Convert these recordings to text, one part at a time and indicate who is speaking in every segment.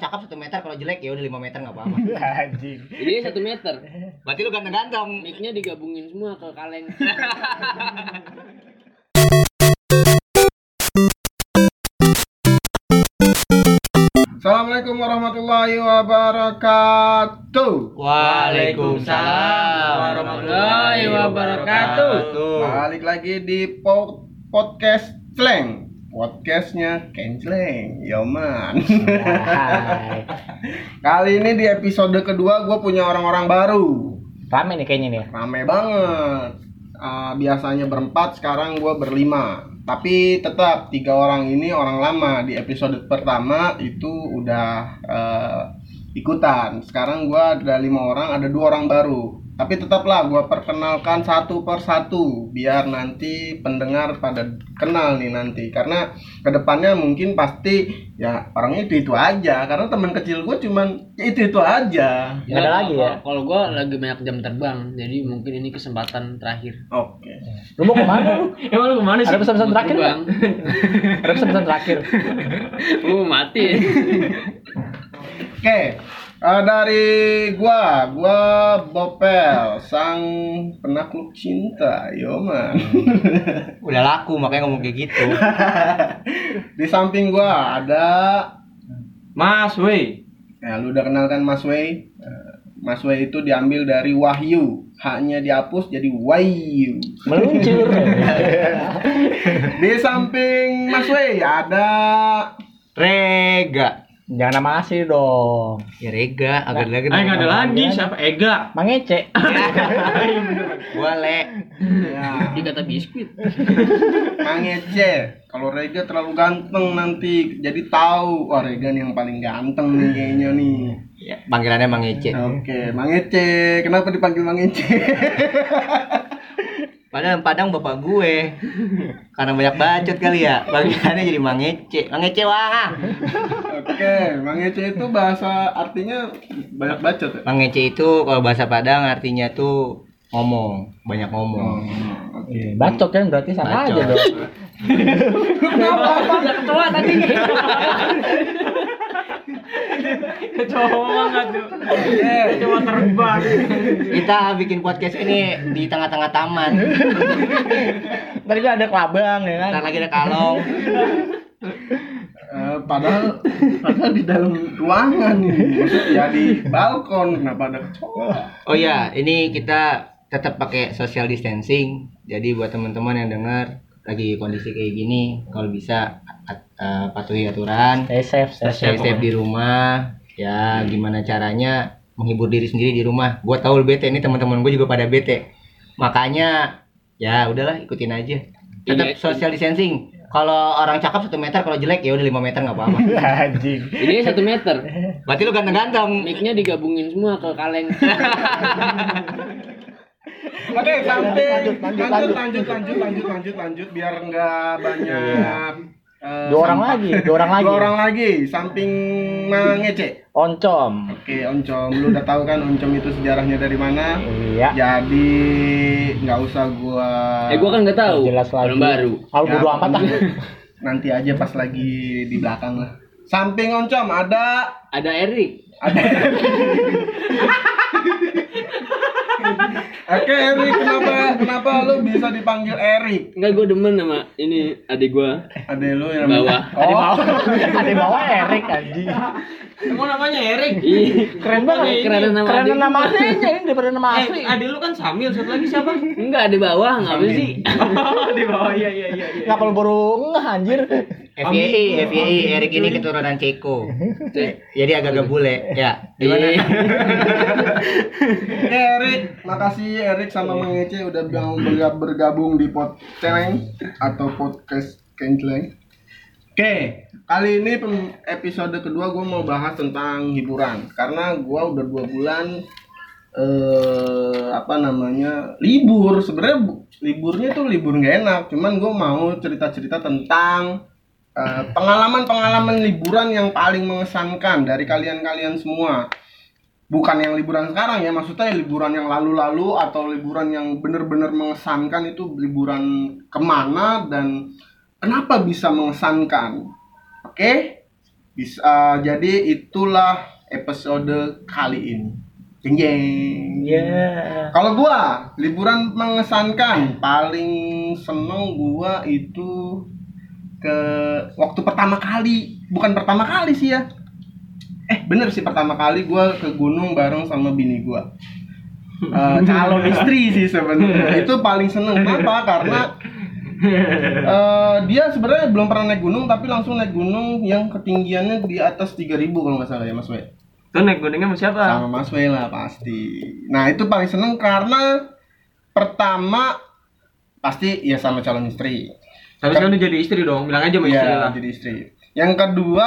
Speaker 1: cakap satu meter kalau jelek ya udah lima meter nggak apa-apa
Speaker 2: Anjing.
Speaker 3: Jadi satu meter.
Speaker 1: berarti lu ganteng-ganteng
Speaker 3: Mic-nya digabungin semua ke kaleng.
Speaker 2: Assalamualaikum warahmatullahi wabarakatuh.
Speaker 3: Waalaikumsalam warahmatullahi wabarakatuh.
Speaker 2: Balik lagi di po- podcast Fleng. Podcastnya Kenceleng, Yoman.
Speaker 4: Hai.
Speaker 2: Kali ini di episode kedua gue punya orang-orang baru.
Speaker 4: Rame nih kayaknya nih.
Speaker 2: Rame banget. Ah, biasanya berempat, sekarang gue berlima. Tapi tetap tiga orang ini orang lama. Di episode pertama itu udah eh, ikutan. Sekarang gue ada lima orang, ada dua orang baru. Tapi tetaplah gue perkenalkan satu per satu biar nanti pendengar pada kenal nih nanti. Karena kedepannya mungkin pasti ya orang itu itu aja. Karena teman kecil gue cuman itu itu aja.
Speaker 4: Nggak ada lagi ya?
Speaker 3: Kalau gue lagi banyak jam terbang, jadi mungkin ini kesempatan terakhir.
Speaker 2: Oke.
Speaker 4: Lu mau kemana lu?
Speaker 3: Emang lu kemana
Speaker 4: Ada pesan-pesan terakhir nggak?
Speaker 3: Bang,
Speaker 4: Ada pesan-pesan terakhir.
Speaker 3: lu mati. ya?
Speaker 2: Oke, eh, dari gua, gua Bopel, sang penakluk cinta, yo man.
Speaker 1: udah laku makanya ngomong kayak gitu
Speaker 2: Di samping gua ada,
Speaker 5: Mas, woi.
Speaker 2: ya lu udah kenalkan Mas Wei. Eh, Mas Wei itu diambil dari Wahyu, haknya dihapus jadi Wahyu.
Speaker 4: Meluncur.
Speaker 2: Di samping Mas Wei ada,
Speaker 1: rega
Speaker 4: Jangan nama asli dong.
Speaker 1: ya rega agak ada lagi
Speaker 5: Eh, nggak ada lagi.
Speaker 4: ya.
Speaker 5: Siapa? Ega.
Speaker 4: Mang Ece.
Speaker 1: gua le
Speaker 2: ya,
Speaker 3: Dia kata biskuit.
Speaker 2: Mang Ece. Kalau Rega terlalu ganteng nanti, jadi tahu, wah Rega nih yang paling ganteng nih kayaknya nih.
Speaker 1: ya, panggilannya mang Ece
Speaker 2: Oke, Mang Ece, kenapa dipanggil Mang Ece?
Speaker 1: padahal padang bapak gue karena banyak bacot kali ya panggilannya jadi mang Ece mang Ece wang ah.
Speaker 2: Oke, Mang Ece itu bahasa artinya banyak bacot ya?
Speaker 1: mang Ece itu kalau bahasa padang artinya tuh ngomong banyak ngomong
Speaker 2: Oke.
Speaker 4: Bacot kan berarti Hmm. sama
Speaker 1: Bacot.
Speaker 4: aja dong.
Speaker 3: Ada kecoa tadi.
Speaker 5: Kecoa nggak tuh? Kecoa terbang.
Speaker 1: kita bikin podcast ini di tengah-tengah taman
Speaker 4: Tadi kan ada kelabang ya kan.
Speaker 1: ntar lagi ada kalong
Speaker 2: Eh, padahal padahal di dalam ruangan ini, ya di balkon kenapa ada kecoa?
Speaker 1: Oh ya, ini kita tetap pakai social distancing. Jadi buat teman-teman yang dengar lagi kondisi kayak gini, kalau bisa at- eh, patuhi aturan,
Speaker 4: Stay safe, stay
Speaker 1: stay
Speaker 4: safe.
Speaker 1: safe di rumah. Ya, gimana caranya menghibur diri sendiri di rumah. Gua tahu lu bete ini teman-teman gue juga pada bete. Makanya ya udahlah ikutin aja. Tetap
Speaker 3: Iya,
Speaker 1: social distancing. Kalau orang cakep satu meter, kalau jelek ya udah lima meter nggak apa-apa.
Speaker 4: Anjing.
Speaker 3: Jadi satu meter.
Speaker 1: Berarti lu ganteng-ganteng.
Speaker 3: Mic-nya digabungin semua ke kaleng.
Speaker 2: Oke, sampai
Speaker 4: Lanjut,
Speaker 2: lanjut
Speaker 4: lanjut,
Speaker 2: lanjut lanjut lanjut lanjut lanjut biar nggak banyak eh,
Speaker 4: Iya. Dua orang
Speaker 2: sampah.
Speaker 4: lagi, dua orang lagi.
Speaker 2: Dua orang lagi, samping Mang Ece.
Speaker 4: Oncom.
Speaker 2: Oke, Oncom, lu udah tahu kan Oncom itu sejarahnya dari mana?
Speaker 4: Iya.
Speaker 2: Jadi nggak usah gua.
Speaker 3: Eh gua kan nggak tahu.
Speaker 4: Jelas lagi.
Speaker 3: Orang baru.
Speaker 4: Kalau bodo amat ah.
Speaker 2: Nanti aja pas lagi di belakang lah. Samping oncom ada
Speaker 3: Ada Erik.
Speaker 2: ada. Oke Erik, kenapa kenapa lu bisa dipanggil Erik?
Speaker 3: Enggak gue demen sama ini adik gua.
Speaker 2: Ada lu yang
Speaker 3: Bawah.
Speaker 4: Ada
Speaker 2: Oh,
Speaker 4: bawah, ada bawah Erik anjing.
Speaker 5: Emang namanya Erik.
Speaker 3: Ih,
Speaker 4: Keren banget.
Speaker 3: Keren nama
Speaker 4: Keren
Speaker 3: adik.
Speaker 4: nama asli aja ini daripada nama
Speaker 5: Eh,
Speaker 4: asli.
Speaker 5: adik lu kan Samil, satu lagi siapa?
Speaker 3: Enggak ada bawah, enggak apa sih?
Speaker 5: Oh, di bawah. Iya, iya, iya. iya.
Speaker 4: Nggak perlu baru ngeh anjir.
Speaker 1: FYI, FYI, Erik ini keturunan Ceko. Jadi agak-agak bule. Ya, gimana?
Speaker 2: oke, Eh, Erik. Makasih Erik sama Mang Ece udah mau berga- bergabung di Podceleng atau podcast Kenceleng. Oke, kali ini pem- episode kedua gue mau bahas tentang hiburan karena gue udah dua bulan eh apa namanya libur sebenarnya bu- liburnya tuh libur nggak enak cuman gue mau cerita cerita tentang eh, pengalaman-pengalaman liburan yang paling mengesankan dari kalian-kalian semua bukan yang liburan sekarang ya maksudnya liburan yang lalu-lalu atau liburan yang bener-bener mengesankan itu liburan kemana dan kenapa bisa mengesankan oke Bisa ah, jadi itulah episode kali ini. Jeng jeng.
Speaker 4: Iya.
Speaker 2: Kalau gua liburan mengesankan paling seneng gua itu ke waktu pertama kali, bukan pertama kali sih ya. Eh bener sih pertama kali gua ke gunung bareng sama bini gua. Eh, calon istri sih sebenarnya itu paling seneng kenapa karena eh, dia sebenarnya belum pernah naik gunung tapi langsung naik gunung yang ketinggiannya di atas 3000 kalau nggak salah ya mas Wei
Speaker 5: Tuh naik gunungnya sama siapa?
Speaker 2: sama Mas Wei lah pasti. Nah itu paling seneng karena pertama pasti ya sama calon istri.
Speaker 5: Tapi sekarang udah jadi istri dong, bilang aja sama istri
Speaker 2: Iya
Speaker 5: lah.
Speaker 2: jadi istri. Yang kedua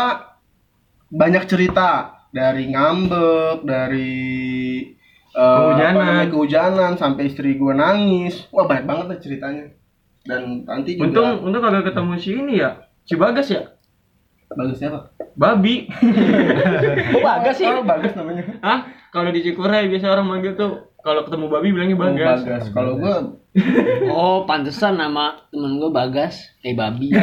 Speaker 2: banyak cerita dari ngambek, dari eh, apa
Speaker 5: Kehujanan.
Speaker 2: namanya, kehujanan sampai istri gue nangis. Wah banyak banget deh ceritanya. Dan nanti juga
Speaker 5: Untung, untung kagak ketemu si ini ya, si Bagas ya,
Speaker 2: bagus siapa?
Speaker 5: babi.
Speaker 4: Kok bagas sih?
Speaker 2: Oh, bagus namanya.
Speaker 5: Hah? Kalau di Cikuray biasa orang manggil tuh kalau ketemu babi bilangnya
Speaker 2: Oh,
Speaker 5: Bagas.
Speaker 2: bagus. Kalau gue
Speaker 3: Oh, pantesan nama temen gue Bagas, eh babi.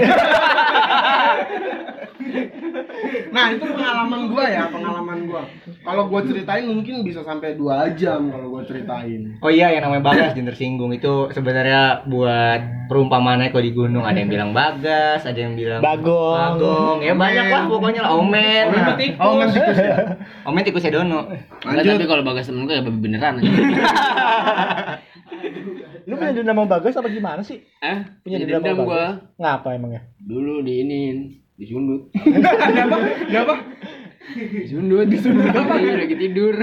Speaker 2: Nah itu pengalaman gua ya, pengalaman gua. Kalau gua ceritain mungkin bisa sampai dua jam kalau gua ceritain.
Speaker 1: Oh iya yang namanya Bagas jangan tersinggung itu sebenarnya buat perumpamaan kalau di gunung ada yang bilang Bagas, ada yang bilang
Speaker 4: Bagong.
Speaker 1: Bagong. Ya banyak lah pokoknya lah Omen.
Speaker 5: Omen
Speaker 1: Nah,
Speaker 5: tikus.
Speaker 2: Oh nggak tikus ya?
Speaker 1: Omen tikusnya Dono.
Speaker 3: Enggak, tapi
Speaker 2: Lanjut.
Speaker 3: kalau Bagas temen gue ya babi beneran.
Speaker 4: Lu punya dendam sama bagas apa gimana sih?
Speaker 3: Eh, punya
Speaker 4: Punya dendam
Speaker 3: dendam
Speaker 4: apa?
Speaker 3: gue.
Speaker 4: Ngapa ya? emangnya?
Speaker 3: Dulu diinin, disundut.
Speaker 2: Nggak apa?
Speaker 3: Disundut, disundut. Apa? Lagi tidur.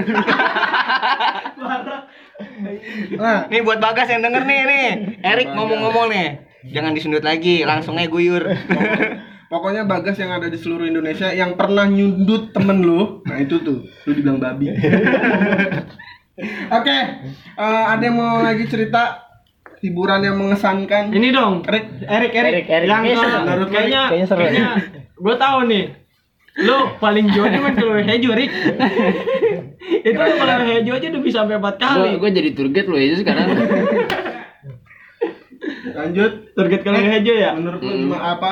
Speaker 2: Nah
Speaker 1: Nih buat Bagas yang denger nih nih. Erik ngomong-ngomong nih. Jangan disundut lagi, langsung aja guyur.
Speaker 2: pokoknya bagas yang ada di seluruh Indonesia yang pernah nyundut temen lu, nah itu tuh lu dibilang babi. Oke, eh, ada yang mau lagi cerita hiburan yang mengesankan?
Speaker 5: Ini dong, Erik, Erik, Erik,
Speaker 4: Erik, Erik.
Speaker 5: yang
Speaker 4: Kayaknya
Speaker 5: ke-
Speaker 4: seru.
Speaker 2: Menurut
Speaker 5: kayaknya,
Speaker 4: Kayaknya seru.
Speaker 5: kayaknya, gue tahu nih, lo paling jauh kan kalau hejo, Rik. itu lo kalau hejo aja udah bisa sampai empat kali.
Speaker 3: Gue jadi tour guide lo aja sekarang.
Speaker 2: Lanjut.
Speaker 5: Target kalau hejo ya,
Speaker 2: Menurut lu
Speaker 3: Hmm.
Speaker 2: gimana- apa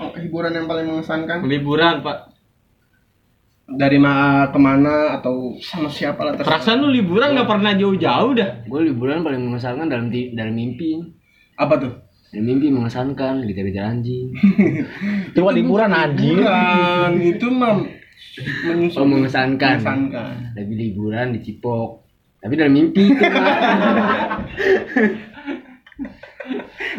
Speaker 2: oh, hiburan yang paling mengesankan?
Speaker 5: liburan pak.
Speaker 2: Dari ma kemana atau sama siapa lah terserah.
Speaker 5: Perasaan lu liburan nggak pernah jauh-jauh dah.
Speaker 3: gue liburan paling mengesankan dalam ti- dalam mimpi.
Speaker 2: Apa tuh?
Speaker 3: Dalam mimpi mengesankan, dikejar-kejar anjing.
Speaker 4: Itu bukan liburan anjing.
Speaker 2: Bukan, itu mem menyusun
Speaker 3: Oh, mengesankan.
Speaker 2: mengesankan.
Speaker 3: Lebih liburan di Cipok. Tapi dalam mimpi.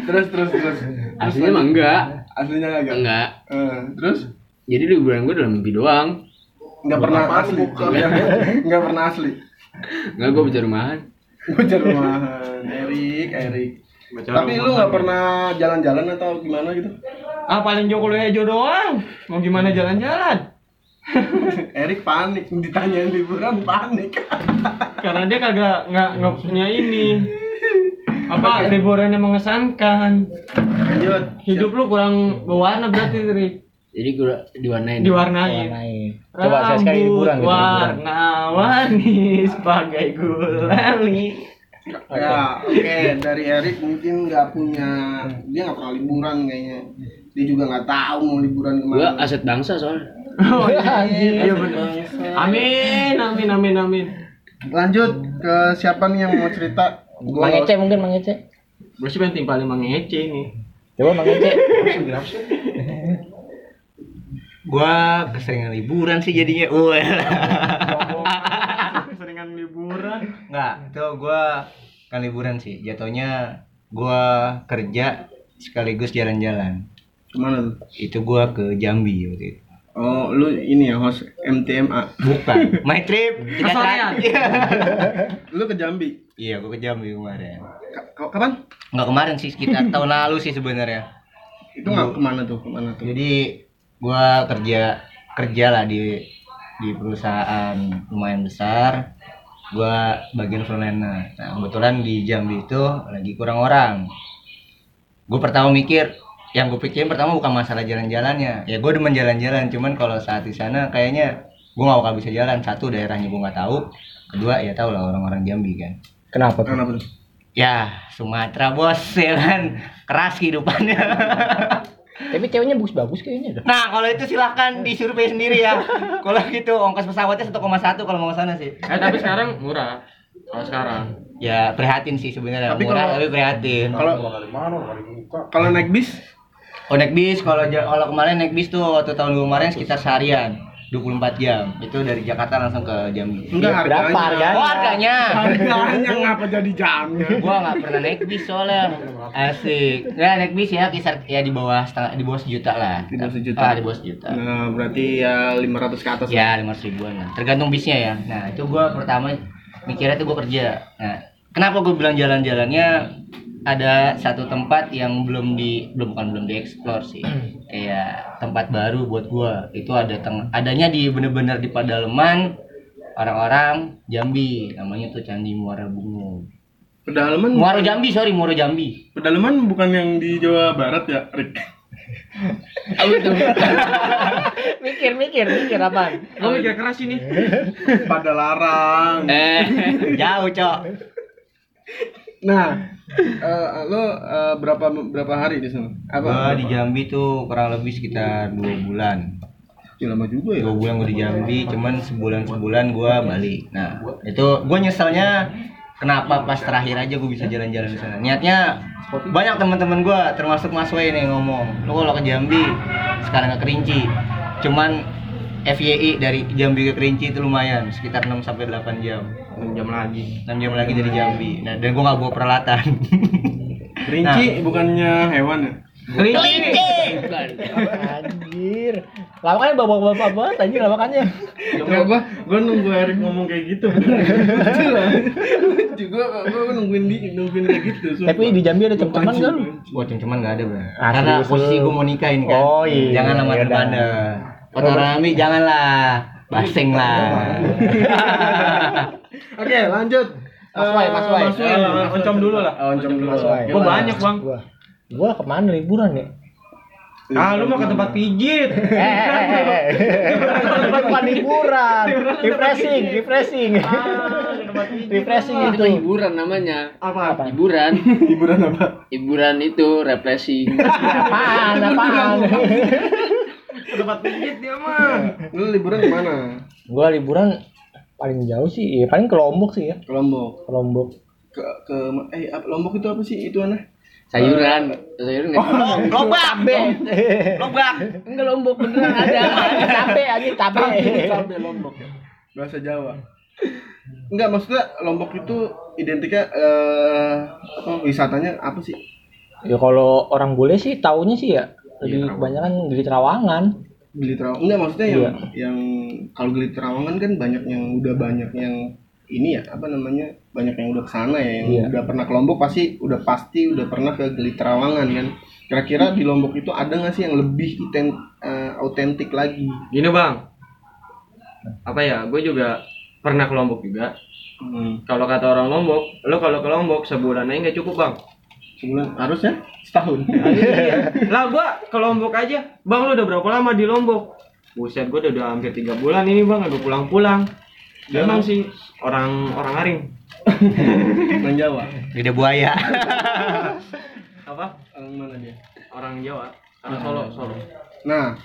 Speaker 2: Terus terus terus.
Speaker 3: Aslinya mah enggak.
Speaker 2: Aslinya enggak.
Speaker 3: Enggak.
Speaker 2: Eh, terus
Speaker 3: Jadi liburan gue dalam mimpi doang.
Speaker 2: enggak pernah asli. Enggak pernah asli.
Speaker 3: Enggak gue bicara rumahan.
Speaker 2: Bocor rumahan. Erik, Erik. Tapi lu nggak pernah jalan-jalan atau gimana gitu?
Speaker 5: Ah paling jauh kalau hejo doang. Mau gimana jalan-jalan?
Speaker 2: Erik panik, ditanyain liburan panik.
Speaker 5: Karena dia kagak nggak nggak punya ini. Apa liburan yang mengesankan?
Speaker 2: Lanjut.
Speaker 5: Hidup lu kurang berwarna berarti, Rik.
Speaker 3: Jadi gue diwarnain.
Speaker 5: Diwarnain.
Speaker 4: Warnain. Coba saya sekali liburan gitu. liburan.
Speaker 5: warna-warni sebagai gulali.
Speaker 2: Ya, oke dari Erik mungkin nggak punya dia nggak pernah liburan kayaknya. Dia juga nggak tahu mau liburan
Speaker 3: Gue
Speaker 2: kemana.
Speaker 3: aset bangsa soalnya.
Speaker 5: Oh, iya.
Speaker 4: Anjing.
Speaker 5: Iya benar. Amin, amin, amin, amin.
Speaker 2: Lanjut ke siapa nih yang mau cerita?
Speaker 4: Mang Ece mungkin Mang Ece.
Speaker 5: Gue sih penting paling mengece nih.
Speaker 4: Coba Mang Ece.
Speaker 1: Gua keseringan liburan sih jadinya. Wah.
Speaker 5: Keseringan liburan.
Speaker 1: Enggak, itu gua kan liburan sih. Jatuhnya gua kerja sekaligus jalan-jalan.
Speaker 2: Kemana tuh?
Speaker 1: Itu gua ke Jambi waktu itu.
Speaker 2: Oh, lu ini ya host MTMA.
Speaker 1: Bukan, my trip. Kita
Speaker 5: Kesorean.
Speaker 2: Lu ke Jambi.
Speaker 1: Iya, gua ke Jambi kemarin.
Speaker 2: Ka- ka- kapan?
Speaker 1: Enggak kemarin sih, sekitar tahun lalu sih sebenarnya.
Speaker 2: Itu nggak kemana tuh? Kemana tuh?
Speaker 1: Jadi gua kerja kerja lah di di perusahaan lumayan besar. Gua bagian frontliner. Nah, kebetulan di Jambi itu lagi kurang orang. Gue pertama mikir yang gue pikirin pertama bukan masalah jalan-jalannya. Ya gue demen jalan-jalan, cuman kalau saat di sana kayaknya gue gak bakal bisa jalan. Satu daerahnya gue nggak tahu. Kedua ya tau lah orang-orang Jambi kan.
Speaker 4: Kenapa tuh?
Speaker 2: Kenapa tuh?
Speaker 1: Ya Sumatera bos, ya kan keras kehidupannya.
Speaker 4: Tapi ceweknya bagus-bagus kayaknya dah.
Speaker 1: Nah, kalau itu silakan disurvei sendiri ya. kalau gitu ongkos pesawatnya 1,1 kalau mau ke sana sih.
Speaker 5: Eh tapi sekarang murah. Kalau sekarang.
Speaker 1: Ya, prihatin sih sebenarnya.
Speaker 2: Tapi
Speaker 1: Murah
Speaker 2: kalau-
Speaker 1: tapi prihatin.
Speaker 2: Kalau
Speaker 6: kali mana kali muka
Speaker 2: kalau naik bis
Speaker 1: Oh, naik bis kalau ja- kalau kemarin naik bis tuh waktu tahun kemarin sekitar seharian, 24 jam. Itu dari Jakarta langsung ke Jambi.
Speaker 2: enggak harganya.
Speaker 4: Iya, Berapa harganya?
Speaker 1: Oh, harganya.
Speaker 2: Harganya ngapa jadi jamnya?
Speaker 1: gua nggak pernah naik bis soalnya asik ya naik bis ya kisar ya di bawah setengah di bawah sejuta lah
Speaker 2: Di bawah sejuta.
Speaker 1: ah, di bawah sejuta
Speaker 2: Nah, berarti ya 500 ke atas.
Speaker 1: ya lima ribuan lah tergantung bisnya ya nah itu gua pertama mikirnya tuh gua kerja nah kenapa gua bilang jalan-jalannya ada satu tempat yang belum di belum bukan belum dieksplor sih kayak tempat baru buat gua itu ada teng adanya di bener-bener di pedalaman orang-orang Jambi namanya tuh Candi Muara Bungo
Speaker 2: Pedalaman
Speaker 1: Muara Jambi sorry Muara Jambi
Speaker 2: Pedalaman bukan yang di Jawa Barat ya, Rick?
Speaker 4: Mikir-mikir, mikir apa?
Speaker 5: Lo mikir keras ini.
Speaker 2: Pada larang.
Speaker 3: Eh,
Speaker 1: jauh cok
Speaker 2: Nah, eh, lo eh, berapa berapa hari di sana?
Speaker 5: Ah,
Speaker 1: gua
Speaker 2: Apa?
Speaker 1: di Jambi tuh kurang lebih sekitar dua bulan
Speaker 2: Ya, lama juga ya.
Speaker 1: dua bulan gua di Jambi cuman sebulan sebulan gua balik nah itu gua nyeselnya kenapa pas terakhir aja gua bisa jalan-jalan di sana niatnya banyak teman-teman gua termasuk Mas Wei nih ngomong lo kalau ke Jambi sekarang ke Kerinci cuman FYI dari Jambi ke Kerinci itu lumayan sekitar 6 sampai 8 jam
Speaker 5: 6 jam lagi.
Speaker 1: 6 jam lagi dari Jambi nah dan gua nggak bawa peralatan
Speaker 2: Rinci
Speaker 4: Nah.
Speaker 2: bukannya hewan ya?
Speaker 5: Kelinci.
Speaker 3: bukan.
Speaker 4: Anjir. Lawakannya bawa-bawa apa? Anjir lawakannya.
Speaker 2: Enggak, gua gua nunggu Erik ngomong kayak gitu. Lucu lah. Lucu gua gua nungguin di nungguin kayak gitu. sumpah.
Speaker 4: Tapi di Jambi ada cem-ceman
Speaker 2: Lucu.
Speaker 4: enggak lu?
Speaker 1: Wah, cuman nggak ada, Bro.
Speaker 4: Ah,
Speaker 1: Karena
Speaker 4: serius,
Speaker 1: posisi
Speaker 4: lu.
Speaker 1: gua mau nikah ini kan.
Speaker 4: Oh, iya.
Speaker 1: Jangan lama
Speaker 4: Yaudah.
Speaker 1: terbanda. Foto rame janganlah. Baseng lah.
Speaker 2: Oke, lanjut.
Speaker 4: Mas Wai, Mas Wai.
Speaker 2: Mas Wai.
Speaker 5: Eh, oncom dulu lah.
Speaker 2: Oh, Oncom dulu.
Speaker 4: Mas Wai.
Speaker 5: Gua banyak, Bang.
Speaker 4: Gua. kan? Gua kemana liburan ya?
Speaker 5: Ah, lu mau ke tempat pijit.
Speaker 4: Eh, eh, eh, eh. Bukan liburan. Refreshing, refreshing.
Speaker 5: Ah, ke tempat Ah. pijit.
Speaker 4: Refreshing
Speaker 3: Itu
Speaker 4: itu.
Speaker 3: hiburan namanya.
Speaker 2: Apa?
Speaker 3: Hiburan.
Speaker 2: Hiburan apa?
Speaker 3: Hiburan itu represi.
Speaker 4: Apaan, apaan?
Speaker 5: Ke tempat pijit dia mah.
Speaker 2: Lu liburan kemana?
Speaker 4: Gua liburan paling jauh sih, ya paling ke Lombok sih ya.
Speaker 2: Ke Lombok.
Speaker 4: Ke Lombok.
Speaker 2: Ke ke eh apa- Lombok itu apa sih? Itu aneh.
Speaker 3: Sayuran. Sayuran enggak?
Speaker 1: Lobak. Lobak.
Speaker 3: Enggak lombok beneran ada.
Speaker 4: Cabe aja, cabe.
Speaker 2: Sampai Lombok. Bahasa Jawa. Enggak, maksudnya Lombok itu identiknya eh apa wisatanya apa sih?
Speaker 4: Ya kalau orang boleh sih taunya
Speaker 5: Iya,
Speaker 4: sih ya lebih kebanyakan di Terawangan.
Speaker 2: Gili Trawangan. Enggak, maksudnya yang
Speaker 4: Iya.
Speaker 2: yang kalau Gili Trawangan kan banyak yang udah banyak yang ini ya, apa namanya? Banyak yang udah kesana ya, yang
Speaker 4: Iya.
Speaker 2: udah pernah ke Lombok pasti udah pasti udah pernah ke Gili Trawangan kan. Kira-kira di Lombok itu ada nggak sih yang lebih iten- eh, autentik lagi?
Speaker 5: Gini, Bang. Apa ya? Gue juga pernah ke Lombok juga.
Speaker 2: Hmm.
Speaker 5: Kalau kata orang Lombok, lo kalau ke Lombok sebulan aja nggak cukup, Bang.
Speaker 2: Sebulan harusnya setahun.
Speaker 4: Iya.
Speaker 2: Iya.
Speaker 5: lah gua ke Lombok aja bang lu udah berapa lama di Lombok buset gua udah, udah hampir tiga bulan ini bang udah pulang-pulang memang sih orang orang aring
Speaker 2: Orang Jawa.
Speaker 1: Lidah buaya.
Speaker 5: apa
Speaker 2: Orang mana dia?
Speaker 5: orang Jawa orang Solo Solo
Speaker 2: Nah,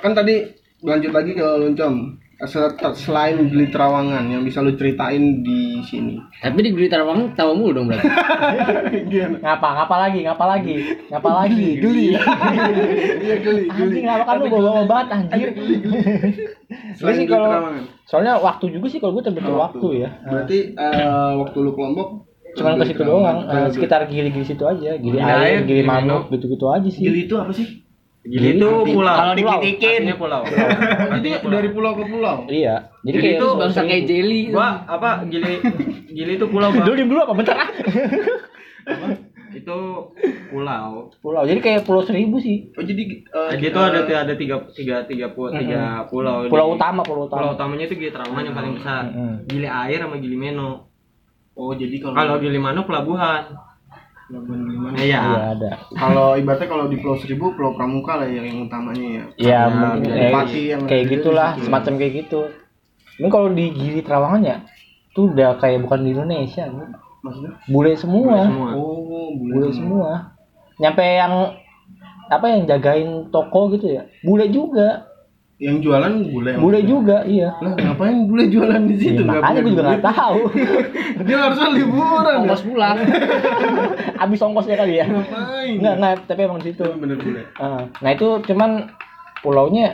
Speaker 2: kan tadi lanjut lagi ke Loncom. Sel- Selain Gili Trawangan yang bisa lu ceritain di sini.
Speaker 3: Tapi di Gili Trawangan tawa mulu dong berarti.
Speaker 4: Ngapa? Ngapa lagi? Ngapa lagi? Ngapa lagi? Geli.
Speaker 2: Iya, Gili,
Speaker 4: Anjing ngapa kan lu bawa banget anjir. Gue
Speaker 2: Selain
Speaker 4: sih
Speaker 2: Gili
Speaker 4: kalau
Speaker 2: Trawangan.
Speaker 4: soalnya waktu juga sih kalau gue terbentur waktu ya.
Speaker 2: Berarti eh, waktu lu kelompok
Speaker 4: Cuman ke situ doang, eh, sekitar gili-gili situ aja, gili air, gili mamut, gitu-gitu aja sih.
Speaker 2: Gili itu apa sih?
Speaker 5: Gili itu pulau
Speaker 1: Kalau
Speaker 5: artinya
Speaker 1: dikitikin.
Speaker 5: pulau
Speaker 2: Jadi dari pulau ke pulau.
Speaker 4: Iya, jadi
Speaker 5: Gili
Speaker 4: kayak
Speaker 5: itu
Speaker 3: Bangsa kayak jelly.
Speaker 5: gua apa Gili Gili itu pulau
Speaker 4: Lu
Speaker 5: bang
Speaker 4: diem dulu apa bentar ah?
Speaker 5: itu pulau
Speaker 4: Pulau, jadi kayak pulau seribu sih.
Speaker 2: Oh jadi eh,
Speaker 5: Jadi
Speaker 2: eh,
Speaker 5: itu Nah, gitu ada ada tiga tiga tiga, pu- tiga pulau
Speaker 4: Pulau
Speaker 5: Di-
Speaker 4: utama, pulau utama.
Speaker 5: pulau utamanya itu Gili Trawangan yang paling besar
Speaker 4: Mm-mm.
Speaker 5: Gili air sama Gili Meno
Speaker 2: Oh jadi kalau
Speaker 5: kalau gitu. Gili Mano pelabuhan
Speaker 2: Labuan Bajo.
Speaker 5: iya
Speaker 4: Iya, ada.
Speaker 2: kalau ibaratnya kalau di Pulau Seribu, Pulau Pramuka lah yang, yang utamanya ya.
Speaker 4: Iya,
Speaker 5: Ya,
Speaker 4: mungkin
Speaker 5: biar
Speaker 4: kayak,
Speaker 2: pagi yang
Speaker 4: kayak
Speaker 2: lebih
Speaker 4: gitulah,
Speaker 2: di situ.
Speaker 4: semacam kayak gitu. Ini kalau di Gili Trawangan ya, itu udah kayak bukan di Indonesia, Bu.
Speaker 2: Maksudnya?
Speaker 4: bule semua,
Speaker 5: Iya, semua
Speaker 2: Oh,
Speaker 4: bule
Speaker 2: bulan.
Speaker 4: semua. Nyampe yang apa yang jagain toko gitu ya bule juga
Speaker 2: Yang jualan bule.
Speaker 4: bule juga iya
Speaker 2: Lah, ngapain bule jualan Ya, di
Speaker 4: Ya,
Speaker 2: situ? Nggak
Speaker 4: makanya
Speaker 2: punya
Speaker 4: gue juga
Speaker 2: duit.
Speaker 4: nggak tahu
Speaker 2: Dia harusnya liburan. ya?
Speaker 3: Ongkos pulang.
Speaker 4: abis ongkosnya kali ya
Speaker 2: Ngapain?
Speaker 4: nggak nggak tapi emang di situ
Speaker 2: Itu bener bule.
Speaker 4: Ah, nah itu cuman pulaunya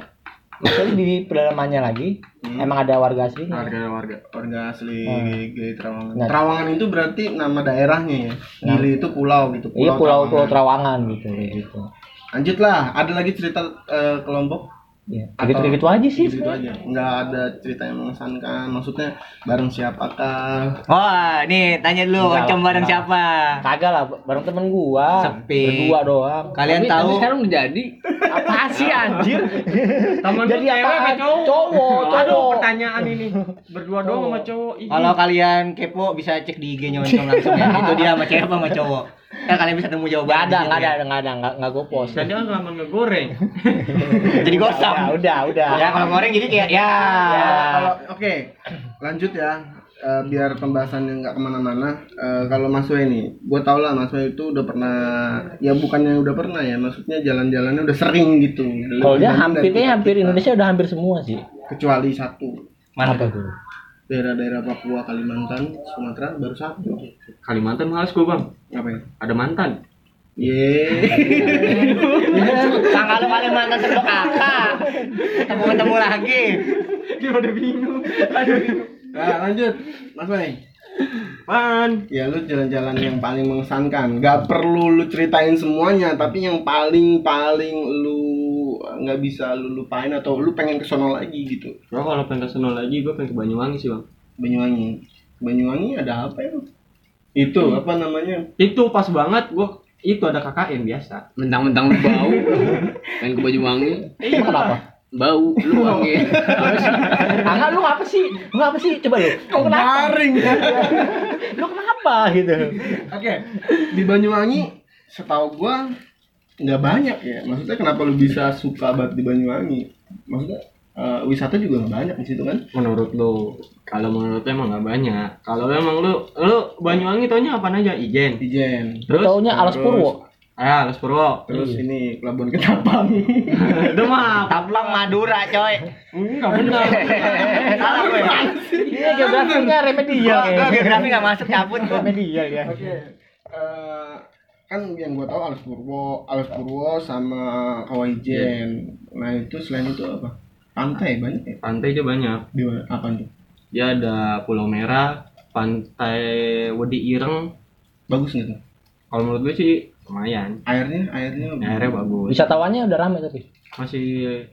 Speaker 4: maksudnya di pedalamannya lagi
Speaker 2: Hmm.
Speaker 4: emang ada warga aslinya
Speaker 2: Warga warga warga asli
Speaker 4: Hmm.
Speaker 2: Gili Trawangan.
Speaker 4: Nah.
Speaker 2: Trawangan itu berarti nama daerahnya ya.
Speaker 4: Nah.
Speaker 2: Gili itu pulau gitu.
Speaker 4: iya pulau pulau
Speaker 2: Trawangan.
Speaker 4: Trawangan gitu kayak gitu
Speaker 2: Lanjutlah, ada lagi cerita eh, kelompok
Speaker 4: Iya,
Speaker 2: Atau-
Speaker 4: gitu gitu aja sih.
Speaker 2: gitu aja. Nggak ada cerita yang mengesankan. Maksudnya bareng siapakah?
Speaker 1: Oh, nih tanya dulu
Speaker 4: Enggak,
Speaker 1: oncom bareng
Speaker 4: enggak.
Speaker 1: siapa?
Speaker 4: Kagak lah, bareng temen gua.
Speaker 1: Sepi.
Speaker 4: Berdua doang. Kan
Speaker 1: Kalian
Speaker 3: Tapi-
Speaker 1: tahu
Speaker 3: tapi sekarang udah jadi.
Speaker 4: Apa sih anjir?
Speaker 5: Temen
Speaker 4: Jadi
Speaker 5: lu cewek apa
Speaker 4: apaan?
Speaker 5: cowok?
Speaker 4: Cowok,
Speaker 5: Aduh,
Speaker 4: cowok.
Speaker 5: pertanyaan ini. Berdua doang sama cowok. Ih.
Speaker 1: kalau kalian kepo bisa cek di IG-nya oncom langsung ya. Itu dia sama cewek apa sama cowok. Ntar kalian bisa temu jawaban. di
Speaker 4: Gak ada,
Speaker 1: situ
Speaker 4: gak ada,
Speaker 1: ya.
Speaker 4: gak ada, gak gak gua post.
Speaker 5: Tadi kan lama ngegoreng.
Speaker 1: Jadi gosong.
Speaker 4: Ya, udah, udah.
Speaker 1: Ya kalau goreng jadi kayak ya.
Speaker 2: Kalau oke, lanjut ya. Eh, biar pembahasannya nggak kemana-mana. Eh, kalau Mas Wei nih, gue tau lah Mas Wei itu udah pernah, ya bukannya udah pernah ya, maksudnya jalan-jalannya udah sering gitu.
Speaker 4: Kalau dia
Speaker 2: Lebih
Speaker 4: hampir,
Speaker 2: dari
Speaker 4: kayaknya hampir
Speaker 2: kita.
Speaker 4: Indonesia udah hampir semua sih.
Speaker 2: kecuali satu
Speaker 1: Mana
Speaker 4: Apa
Speaker 1: tuh?
Speaker 4: tuh?
Speaker 2: daerah-daerah Papua, Kalimantan, Sumatera baru satu.
Speaker 5: Kalimantan males gua, Bang.
Speaker 2: Ngapain?
Speaker 5: Ada mantan.
Speaker 2: Ye.
Speaker 1: Tanggal lu kalian mantan sebelum kakak. Ketemu ketemu lagi.
Speaker 5: Dia udah bingung. Aduh.
Speaker 2: Nah, lanjut. Mas Wei.
Speaker 5: Man.
Speaker 2: Ya lu jalan-jalan yang paling mengesankan. Gak perlu lu ceritain semuanya, tapi yang paling paling lu eh, nggak bisa lu lupain atau lu pengen kesono lagi gitu.
Speaker 5: Gua kalau pengen ke sono lagi, gua pengen ke Banyuwangi sih, Bang.
Speaker 2: Banyuwangi. Banyuwangi ada apa ya? Itu apa namanya?
Speaker 5: Itu pas banget gua itu ada KKN biasa.
Speaker 3: Mentang-mentang lu bau. Main ke baju wangi.
Speaker 4: Emang kenapa?
Speaker 3: Bau, lu wangi.
Speaker 4: Angga lu apa sih? Lu apa sih? Coba lu. Lu kenapa?
Speaker 2: Garing.
Speaker 4: Lu kenapa gitu?
Speaker 2: Oke, di Banyuwangi setahu gua nggak banyak ya. Maksudnya kenapa lu bisa suka banget di Banyuwangi? Maksudnya eh, wisata juga nggak banyak di situ kan?
Speaker 5: Menurut lu, kalau menurut lu emang gak banyak. Kalau emang lu, lu Banyuwangi taunya apa aja? Ijen.
Speaker 2: Ijen.
Speaker 4: Lu
Speaker 5: Terus,
Speaker 4: taunya Alas Purwo.
Speaker 5: ah, Los Purwo.
Speaker 2: Terus ini Pelabuhan Ketapang.
Speaker 5: Itu mah,
Speaker 1: Taplang Madura coy.
Speaker 5: enggak benar.
Speaker 1: Eh, Salah Iya, gue.
Speaker 4: Iya, geografinya remedial
Speaker 1: Gua gua
Speaker 4: kayaknya.
Speaker 1: geografi nggak masuk cabut gua.
Speaker 4: Remedial ya.
Speaker 2: Eh, kan yang gua tahu Alas Purwo, Alas Purwo sama Kawaijen. Nah itu selain itu apa? Pantai banyak ya?
Speaker 5: Pantai aja banyak.
Speaker 2: Di mana? Apa tuh?
Speaker 5: Dia ada Pulau Merah, Pantai Wedi Ireng.
Speaker 2: Bagus nggak tuh?
Speaker 5: Kalau menurut gue sih lumayan.
Speaker 2: Airnya, airnya.
Speaker 5: Airnya bagus.
Speaker 4: Wisatawannya udah rame tapi.
Speaker 5: Masih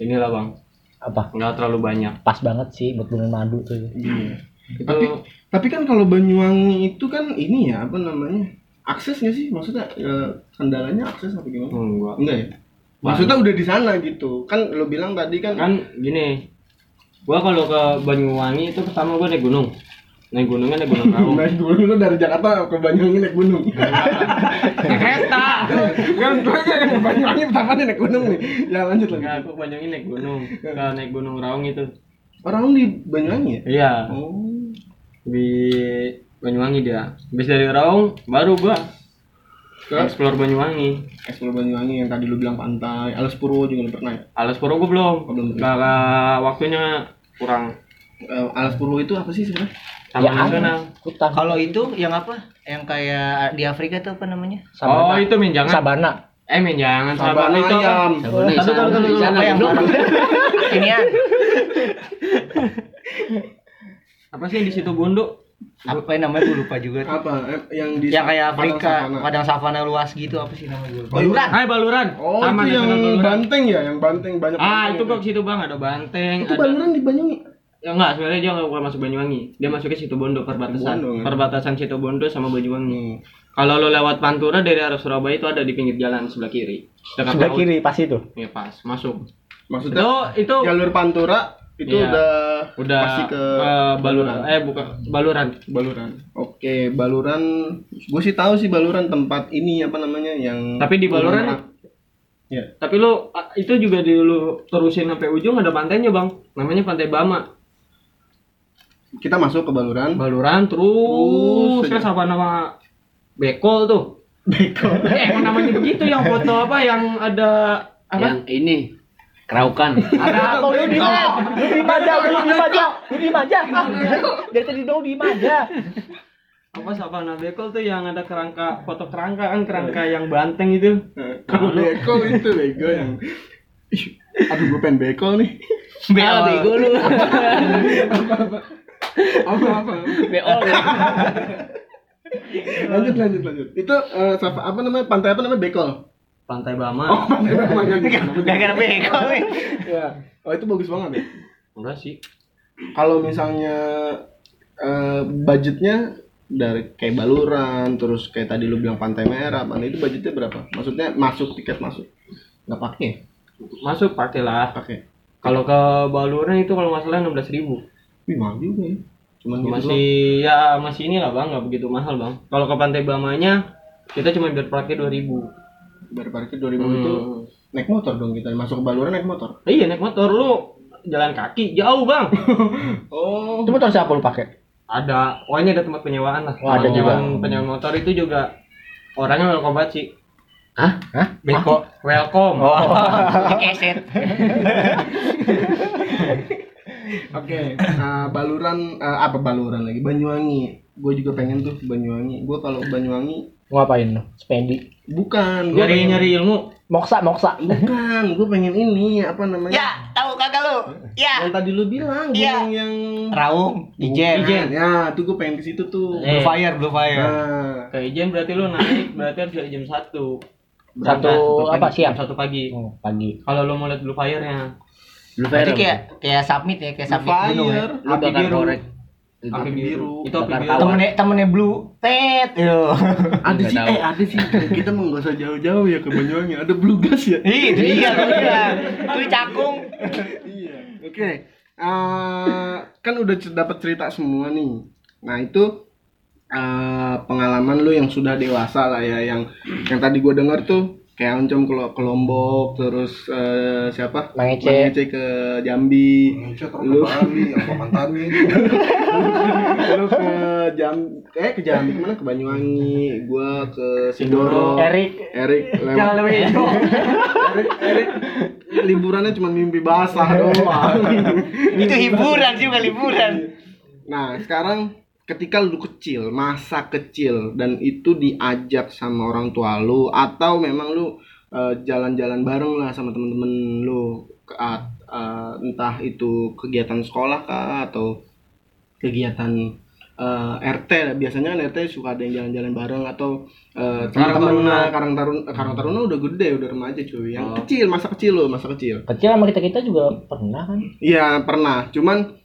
Speaker 5: inilah bang,
Speaker 4: Apa?
Speaker 5: nggak terlalu banyak.
Speaker 4: Pas banget sih buat bulan madu tuh.
Speaker 2: Iya.
Speaker 5: Itu
Speaker 2: Tapi Tapi kan kalau Banyuwangi itu kan ini ya apa namanya aksesnya sih maksudnya eh, kendalanya akses apa gimana?
Speaker 5: enggak.
Speaker 2: Enggak ya. Maksudnya udah di sana gitu kan lo bilang tadi kan,
Speaker 5: Kan gini, gua kalau ke Banyuwangi itu pertama gua naik gunung. Naik gunungnya naik gunung Raung.
Speaker 2: naik gunung lo dari Jakarta ke Banyuwangi naik gunung.
Speaker 5: Iya. Naik kereta.
Speaker 2: kan gue kan ke Banyuwangi pertama nih naik gunung nih. Ya lanjut
Speaker 5: Enggak,
Speaker 2: lagi.
Speaker 5: aku ke Banyuwangi naik gunung. Ke naik gunung Raung itu.
Speaker 2: Orang di Banyuwangi ya?
Speaker 5: Iya,
Speaker 2: Oh.
Speaker 5: di Banyuwangi dia. Habis dari Raung baru gua ke explore Banyuwangi.
Speaker 2: Explore Banyuwangi yang tadi lo bilang pantai, Alas Purwo juga lo pernah ya?
Speaker 5: Alas Puro gue
Speaker 2: Oh,
Speaker 5: belum.
Speaker 2: belum.
Speaker 5: Karena waktunya kurang.
Speaker 2: Eh, Alas Purwo itu apa sih sebenarnya?
Speaker 5: Taman
Speaker 4: Ya,
Speaker 5: Nasional.
Speaker 4: Hutan.
Speaker 1: Kalau itu yang apa? Yang kayak di Afrika tuh apa namanya?
Speaker 5: Oh, itu menjangan.
Speaker 4: Sabana.
Speaker 5: eh menjangan
Speaker 2: Sabana
Speaker 5: Sabana itu. apa?
Speaker 2: ayam.
Speaker 3: Sabana
Speaker 5: Tapi kalau- kalau-
Speaker 3: di sana.
Speaker 1: Apa yang
Speaker 3: Lu-
Speaker 1: ini ya?
Speaker 5: Apa sih yang di situ Bondo?
Speaker 1: Apa yang namanya gue lupa juga tuh.
Speaker 2: Apa? Eh, yang di
Speaker 5: Ya,
Speaker 1: Yang kayak
Speaker 2: Padang
Speaker 1: Afrika,
Speaker 2: Savana.
Speaker 1: padang savana luas gitu apa sih namanya gue lupa.
Speaker 2: Oh, iya.
Speaker 5: Hai Baluran.
Speaker 2: Oh,
Speaker 5: Taman
Speaker 2: itu yang
Speaker 5: Nasional Baluran.
Speaker 2: banteng ya, yang banteng banyak.
Speaker 5: Ah,
Speaker 2: banteng
Speaker 5: itu
Speaker 2: ya.
Speaker 5: gua ke situ Bang, ada banteng,
Speaker 2: Itu
Speaker 5: ada
Speaker 2: baluran di Banyuwangi.
Speaker 5: Ya enggak, sebenarnya dia enggak bukan masuk Banyuwangi. Dia masuknya situ Bondo perbatasan.
Speaker 2: Bondo, kan?
Speaker 5: Perbatasan situ Bondo sama Banyuwangi.
Speaker 2: Hmm.
Speaker 5: Kalau lo lewat Pantura dari arah Surabaya itu ada di pinggir jalan sebelah kiri. Dekat
Speaker 4: Sebelah
Speaker 5: laut.
Speaker 4: kiri pas itu.
Speaker 5: Ya pas, masuk.
Speaker 2: Maksudnya
Speaker 5: Itu itu
Speaker 2: jalur Pantura itu
Speaker 5: Iya.
Speaker 2: udah
Speaker 5: udah
Speaker 2: pasti
Speaker 5: ke
Speaker 2: ke
Speaker 5: Baluran. Eh bukan Baluran.
Speaker 2: Baluran. Oke, Baluran. Gue sih tahu sih Baluran tempat ini apa namanya yang
Speaker 5: Tapi di Baluran
Speaker 2: ya.
Speaker 5: Tapi lo a- itu juga di lu terusin sampai ujung ada pantainya bang, namanya Pantai Bama.
Speaker 2: Kita masuk ke Baluran.
Speaker 5: Baluran terus
Speaker 2: Terus
Speaker 5: kan
Speaker 2: aja.
Speaker 5: sama nama Bekol tuh.
Speaker 2: Beko.
Speaker 5: Eh, emang namanya begitu yang foto apa yang ada apa?
Speaker 3: Yang ini keraukan.
Speaker 5: Ada
Speaker 4: Kalau lu diem aja, lu diem aja, lu diem aja, lu diem aja. Dari tadi dong diem aja.
Speaker 5: apa sabana bekol tuh yang ada kerangka foto kerangka kan kerangka yang banteng itu.
Speaker 2: Kalau beko Nah, itu bego yang Ih, aduh gue pengen beko nih.
Speaker 3: Ah, bego lu.
Speaker 2: Apa apa.
Speaker 3: Beol. ya.
Speaker 2: Lanjut lanjut lanjut. Itu eh, apa, apa namanya? Pantai apa namanya? Bekol.
Speaker 5: Pantai Bama.
Speaker 2: Oh, pantai Bama, jangan.
Speaker 4: Gak kena beko weh.
Speaker 2: Ya. Oh, itu bagus banget ya.
Speaker 5: Enggak sih.
Speaker 2: Kalau misalnya eh, budgetnya dari kayak baluran terus kayak tadi lu bilang pantai merah pantai itu budgetnya berapa maksudnya masuk tiket masuk nggak pakai
Speaker 5: Masuk pakailah.
Speaker 2: pakai
Speaker 5: Kalau ke Balurnya itu kalau nggak salah 16.000 ribu.
Speaker 2: wih mahal juga ya cuman gitu doang.
Speaker 5: Masih ya masih inilah bang, nggak begitu mahal bang. Kalau ke Pantai Bamanya kita cuma biar pakai 2.000
Speaker 2: baru parkir 2000 itu
Speaker 5: Hmm.
Speaker 2: naik motor dong kita masuk ke baluran naik motor
Speaker 5: Eh, Iya naik motor lu jalan kaki jauh bang.
Speaker 2: oh
Speaker 4: Itu motor siapa lu pakai?
Speaker 5: ada, pokoknya ada tempat penyewaan lah.
Speaker 4: Oh, ada juga.
Speaker 5: Penyewaan- penyewaan motor itu juga orangnya welcome banget sih.
Speaker 3: Hah?
Speaker 4: Hah? Oh.
Speaker 5: Beko, welcome.
Speaker 2: oke Nah, baluran eh, apa baluran lagi Banyuwangi gue juga pengen tuh ke Banyuwangi gue kalau ke Banyuwangi
Speaker 4: Mau ngapain lu? Spendi.
Speaker 2: bukan gue
Speaker 5: Nyari nyari ilmu.
Speaker 4: Moksa, moksa.
Speaker 2: bukan gue pengen ini apa namanya
Speaker 1: tahu kagak lu? Ya.
Speaker 2: yang tadi lu bilang
Speaker 1: Iya.
Speaker 2: gunung yang
Speaker 1: Raung, Ijen,
Speaker 2: Ijen. ya tuh gue pengen ke situ
Speaker 5: Ya.
Speaker 2: tuh
Speaker 1: Blue Fire, Blue Fire.
Speaker 2: nah
Speaker 5: Ke Ijen berarti lu naik berarti harus dari jam 1.
Speaker 4: Satu apa siang?
Speaker 5: Jam 1 pagi.
Speaker 4: Oh, pagi.
Speaker 5: Kalau lu mau lihat blue fire-nya,
Speaker 3: Lu
Speaker 1: Berarti
Speaker 3: viral.
Speaker 1: kayak kayak submit ya, kayak submit gunung ya.
Speaker 2: fire
Speaker 3: Lu
Speaker 5: api
Speaker 3: bakar
Speaker 5: biru.
Speaker 3: korek. Itu.
Speaker 5: kan? api biru.
Speaker 2: biru.
Speaker 5: Itu api
Speaker 3: Bakar tawar.
Speaker 5: biru. Temen-
Speaker 1: Temennya temennya Blue, tet, yo.
Speaker 2: ada
Speaker 3: Nggak
Speaker 2: sih
Speaker 3: tahu.
Speaker 2: eh ada sih kita mau nggak usah jauh-jauh ya ke Banyuwangi ada blue gas ya
Speaker 1: Ih, itu dia gua bilang. Itu cakung.
Speaker 2: iya oke Eh, kan udah cer- dapat cerita semua nih nah itu eh, pengalaman lu yang sudah dewasa lah ya yang yang tadi gue denger tuh kayak oncom ke, Lo- ke Lombok terus eh, siapa
Speaker 4: Mang Ece.
Speaker 2: Mang Ece ke Jambi lu lu ke Jam eh ke Jambi kemana ke Banyuwangi gua ke Sidoro
Speaker 4: Erik.
Speaker 2: Erik lewat Erik Erik liburannya cuma mimpi basah doang
Speaker 1: Itu hiburan juga liburan.
Speaker 2: Nah, sekarang ketika lu kecil, masa kecil dan itu diajak sama orang tua lu atau memang lu eh, jalan-jalan bareng lah sama temen-temen lu ke at- eh, entah itu kegiatan sekolah kah atau kegiatan eh, RT lah. biasanya kan RT suka ada yang jalan-jalan bareng atau eh,
Speaker 5: Karang
Speaker 2: temen-temen
Speaker 5: Taruna.
Speaker 2: lah, Karang Taruna Karang Taruna udah gede udah remaja cuy yang
Speaker 5: Oh.
Speaker 2: kecil masa kecil lo masa kecil
Speaker 4: Kecil sama kita-kita juga pernah kan?
Speaker 2: Iya pernah, cuman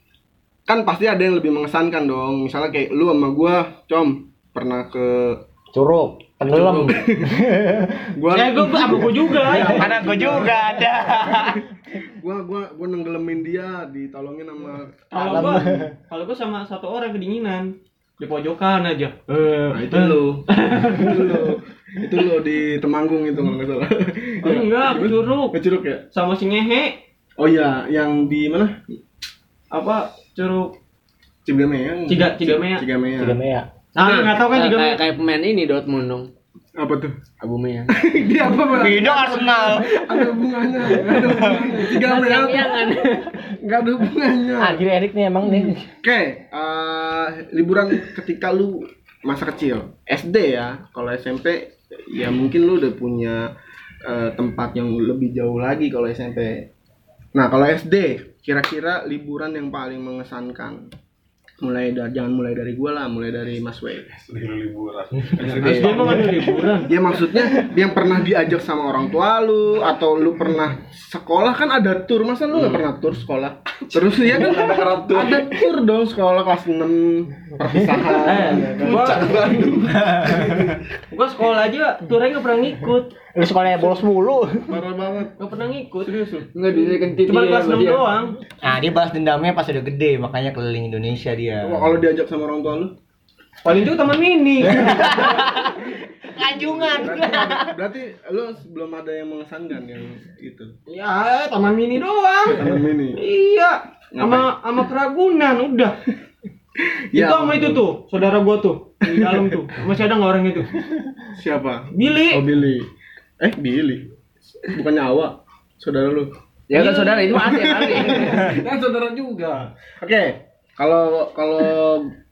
Speaker 2: kan pasti ada yang lebih mengesankan dong. Misalnya kayak lu sama gua, com pernah ke
Speaker 4: Curug, tenggelam.
Speaker 2: gua
Speaker 5: Eh, gua gua- apa gua juga. ya.
Speaker 1: Anak gua juga ada.
Speaker 2: gua gua gua nenggelemin dia, ditolongin sama
Speaker 5: Kalau gua kalau gua sama satu orang kedinginan di pojokan aja.
Speaker 2: Nah, itu lu. itu lu. Itu lu di Temanggung itu kalau nggak salah.
Speaker 5: Oh, enggak, curug
Speaker 2: Ke Curug ya?
Speaker 5: sama si ngehe
Speaker 2: Oh iya, yang di mana?
Speaker 5: apa curug
Speaker 2: Cigameyang.
Speaker 5: Ciga- Cigamea.
Speaker 2: Cigamea.
Speaker 4: Tiga mea.
Speaker 5: Nah, nggak tahu
Speaker 3: Ah,
Speaker 5: kan
Speaker 3: kayak-
Speaker 5: juga
Speaker 3: kayak kayak pemain ini Dortmund dong.
Speaker 2: Apa tuh?
Speaker 3: Albumnya.
Speaker 2: dia apa Bang?
Speaker 1: Beda Arsenal.
Speaker 2: Ada hubungannya. Ada hubungannya. Cigamea. tuh nggak ada hubungannya.
Speaker 4: Anjir Erik nih emang
Speaker 5: Iya,
Speaker 4: nih.
Speaker 2: Oke, eh, liburan ketika lu masa kecil, SD ya. Kalau SMP ya mungkin lu udah punya eh, tempat yang lebih jauh lagi kalau SMP. Nah, kalau SD kira-kira liburan yang paling mengesankan. Mulai dari jangan mulai dari gua lah, mulai dari Mas Wei.
Speaker 5: Terus gua mau ada liburan.
Speaker 2: Ya maksudnya yang pernah diajak sama orang tua lu atau lu pernah sekolah kan ada tur masa lu nggak pernah tur sekolah terus ya kan Hmm. ada tur dong sekolah kelas 6 perpisahan
Speaker 5: Gua Gua sekolah aja turnya nggak pernah ngikut.
Speaker 4: Lu sekolahnya bolos mulu.
Speaker 2: parah banget
Speaker 5: Nggak pernah ngikut.
Speaker 3: Enggak dia kentit
Speaker 5: Cuma
Speaker 3: dia
Speaker 5: kelas
Speaker 3: iya, sama
Speaker 5: 6
Speaker 3: dia.
Speaker 5: doang.
Speaker 1: Nah, dia balas dendamnya pas udah gede, makanya keliling Indonesia dia.
Speaker 2: Wah, kalau diajak sama orang tua lu
Speaker 5: Paling juga taman mini.
Speaker 1: Kanjungan.
Speaker 2: berarti lu belum ada yang mengesankan yang itu
Speaker 5: ya, taman mini doang.
Speaker 2: taman mini
Speaker 5: Iya, sama sama keragunan udah. itu sama itu tuh, saudara gua tuh di dalam tuh. Masih ada nggak orang itu?
Speaker 2: Siapa? Oh
Speaker 5: Billy.
Speaker 2: Billy. Eh Billy. Bukannya Awa. Saudara lu.
Speaker 3: Ya kan saudara itu mah ada kali.
Speaker 2: Kan saudara juga. Oke. Kalau kalau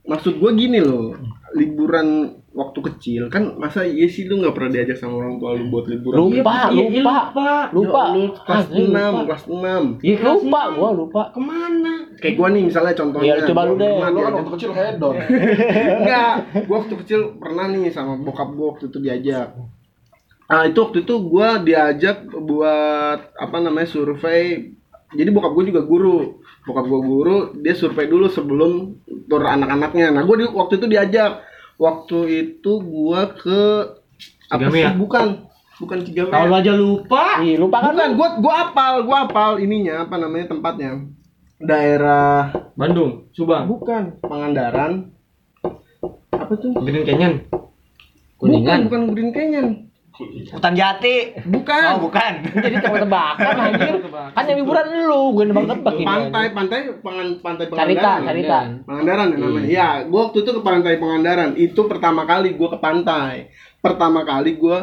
Speaker 2: maksud gua gini loh. Liburan waktu kecil kan masa iya sih lu nggak pernah diajak sama orang tua lu buat liburan.
Speaker 4: Lupa,
Speaker 5: Iya, iya,
Speaker 4: lupa.
Speaker 5: lupa. Iya,
Speaker 4: Lupa.
Speaker 2: Ya, Lu kelas
Speaker 4: Asli, lupa.
Speaker 2: 6, kelas 6.
Speaker 4: Iya, lupa gua lupa.
Speaker 5: Kemana?
Speaker 2: Kayak gua nih misalnya contohnya.
Speaker 4: Ya, coba lu deh.
Speaker 2: Gua
Speaker 6: Lu kan
Speaker 2: diajak-
Speaker 6: waktu kecil hedon.
Speaker 2: Enggak, gua waktu kecil pernah nih sama bokap gua waktu itu diajak. Ah itu waktu itu gua diajak buat apa namanya survei. Jadi bokap gua juga guru. Bokap gua guru, dia survei dulu sebelum tur anak-anaknya. Nah, gua di, waktu itu diajak. Waktu itu gua ke apa sih?
Speaker 5: Cigamea.
Speaker 2: Bukan. Bukan Cigamea.
Speaker 5: Tahun aja lupa.
Speaker 4: Ih, lupa kan
Speaker 2: Bukan, gua gua apal, gua apal ininya apa namanya tempatnya. Daerah
Speaker 5: Bandung, Subang,
Speaker 2: bukan Pangandaran. Apa tuh?
Speaker 5: Green Canyon.
Speaker 2: Bukan, bukan Green Canyon.
Speaker 1: Hutan Jati.
Speaker 2: Bukan.
Speaker 1: Oh, bukan.
Speaker 4: Kan jadi tebak-tebakan anjir. Kan yang liburan lu, gue nebak-nebak ini.
Speaker 2: Iya, pantai, kan, pantai, pangan, pantai
Speaker 4: Carita,
Speaker 2: Pangandaran.
Speaker 4: carita.
Speaker 2: Pangandaran ya namanya. Iya, gua waktu itu ke pantai Pangandaran. Itu pertama kali gua ke pantai. Pertama kali gua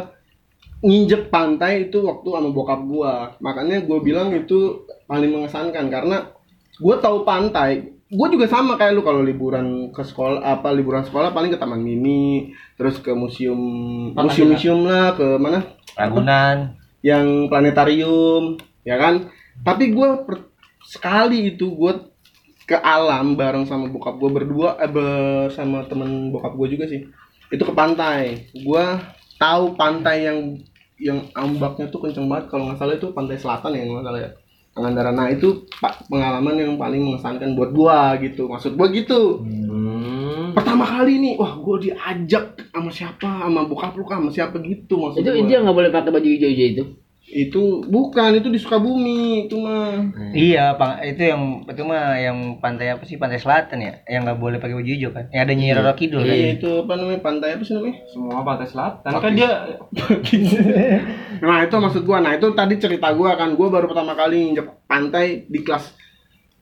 Speaker 2: nginjek pantai itu waktu sama bokap gua. Makanya gua bilang itu paling mengesankan karena gua tahu pantai. Gua juga sama kayak lu kalau liburan ke sekolah apa liburan sekolah paling ke taman mini, terus ke museum museum-museum lah, ke mana?
Speaker 1: Ragunan.
Speaker 2: yang planetarium ya kan tapi gue sekali itu gue ke alam bareng sama bokap gue berdua eh, bersama temen bokap gue juga sih itu ke pantai gue tahu pantai yang yang ombaknya tuh kenceng banget kalau nggak salah itu pantai selatan ya kalau nggak salah ya Pangandaran nah itu pak pengalaman yang paling mengesankan buat gua gitu maksud gua gitu pertama kali nih wah gua diajak sama siapa sama bokap lu kah, sama siapa gitu maksud
Speaker 3: Itu
Speaker 2: gua
Speaker 3: itu yang nggak boleh pakai baju hijau-hijau itu.
Speaker 2: itu bukan itu di Sukabumi itu mah
Speaker 1: Iya, Pak. Itu yang itu mah yang pantai apa sih? Pantai Selatan ya. Yang nggak boleh pakai baju hijau kan. Yang ada Nyi Roro Kidul kan.
Speaker 2: iya itu apa namanya pantai apa sih namanya
Speaker 5: Semua pantai selatan kan dia
Speaker 2: nah itu maksud gua nah itu tadi cerita gua kan gua baru pertama kali nginjek pantai di kelas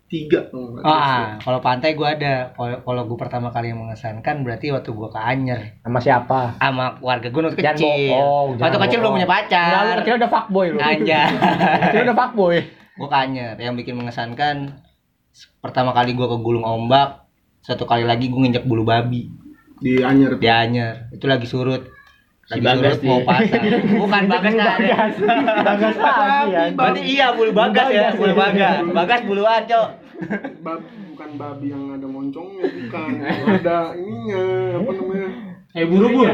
Speaker 2: tiga oh, nggak kelas
Speaker 1: Ah, kalau pantai gua ada. Kalau kalau gua pertama kali yang mengesankan berarti waktu gua ke Anyer
Speaker 4: Sama siapa?
Speaker 1: sama keluarga gua waktu
Speaker 4: Jangan
Speaker 1: kecil.
Speaker 2: Oh,
Speaker 4: bohong,
Speaker 1: waktu
Speaker 4: jangan
Speaker 1: kecil belum
Speaker 4: bohong.
Speaker 1: punya
Speaker 4: Nah, lu
Speaker 1: pacar.
Speaker 4: kecil udah fuckboy lu.
Speaker 1: Aja.
Speaker 4: Kecil udah fuckboy.
Speaker 1: gua ke Anyer yang bikin mengesankan pertama kali gua ke Gulung Ombak, satu kali lagi gua nginjek bulu babi
Speaker 2: di Anyer
Speaker 1: di Anyer. Itu lagi surut. Lagi
Speaker 3: Bagas
Speaker 1: surut mau
Speaker 3: nih.
Speaker 1: pasang.
Speaker 4: Kan
Speaker 1: Bukan Bagas
Speaker 4: ya.
Speaker 1: ada.
Speaker 4: Bagas lagi ya.
Speaker 1: Berarti iya bulu bagas ya, bulu bagas. Bagas buluan, Cok.
Speaker 2: Bab- bukan babi yang ada moncongnya bukan ada ininya apa namanya
Speaker 5: eh buru-buru.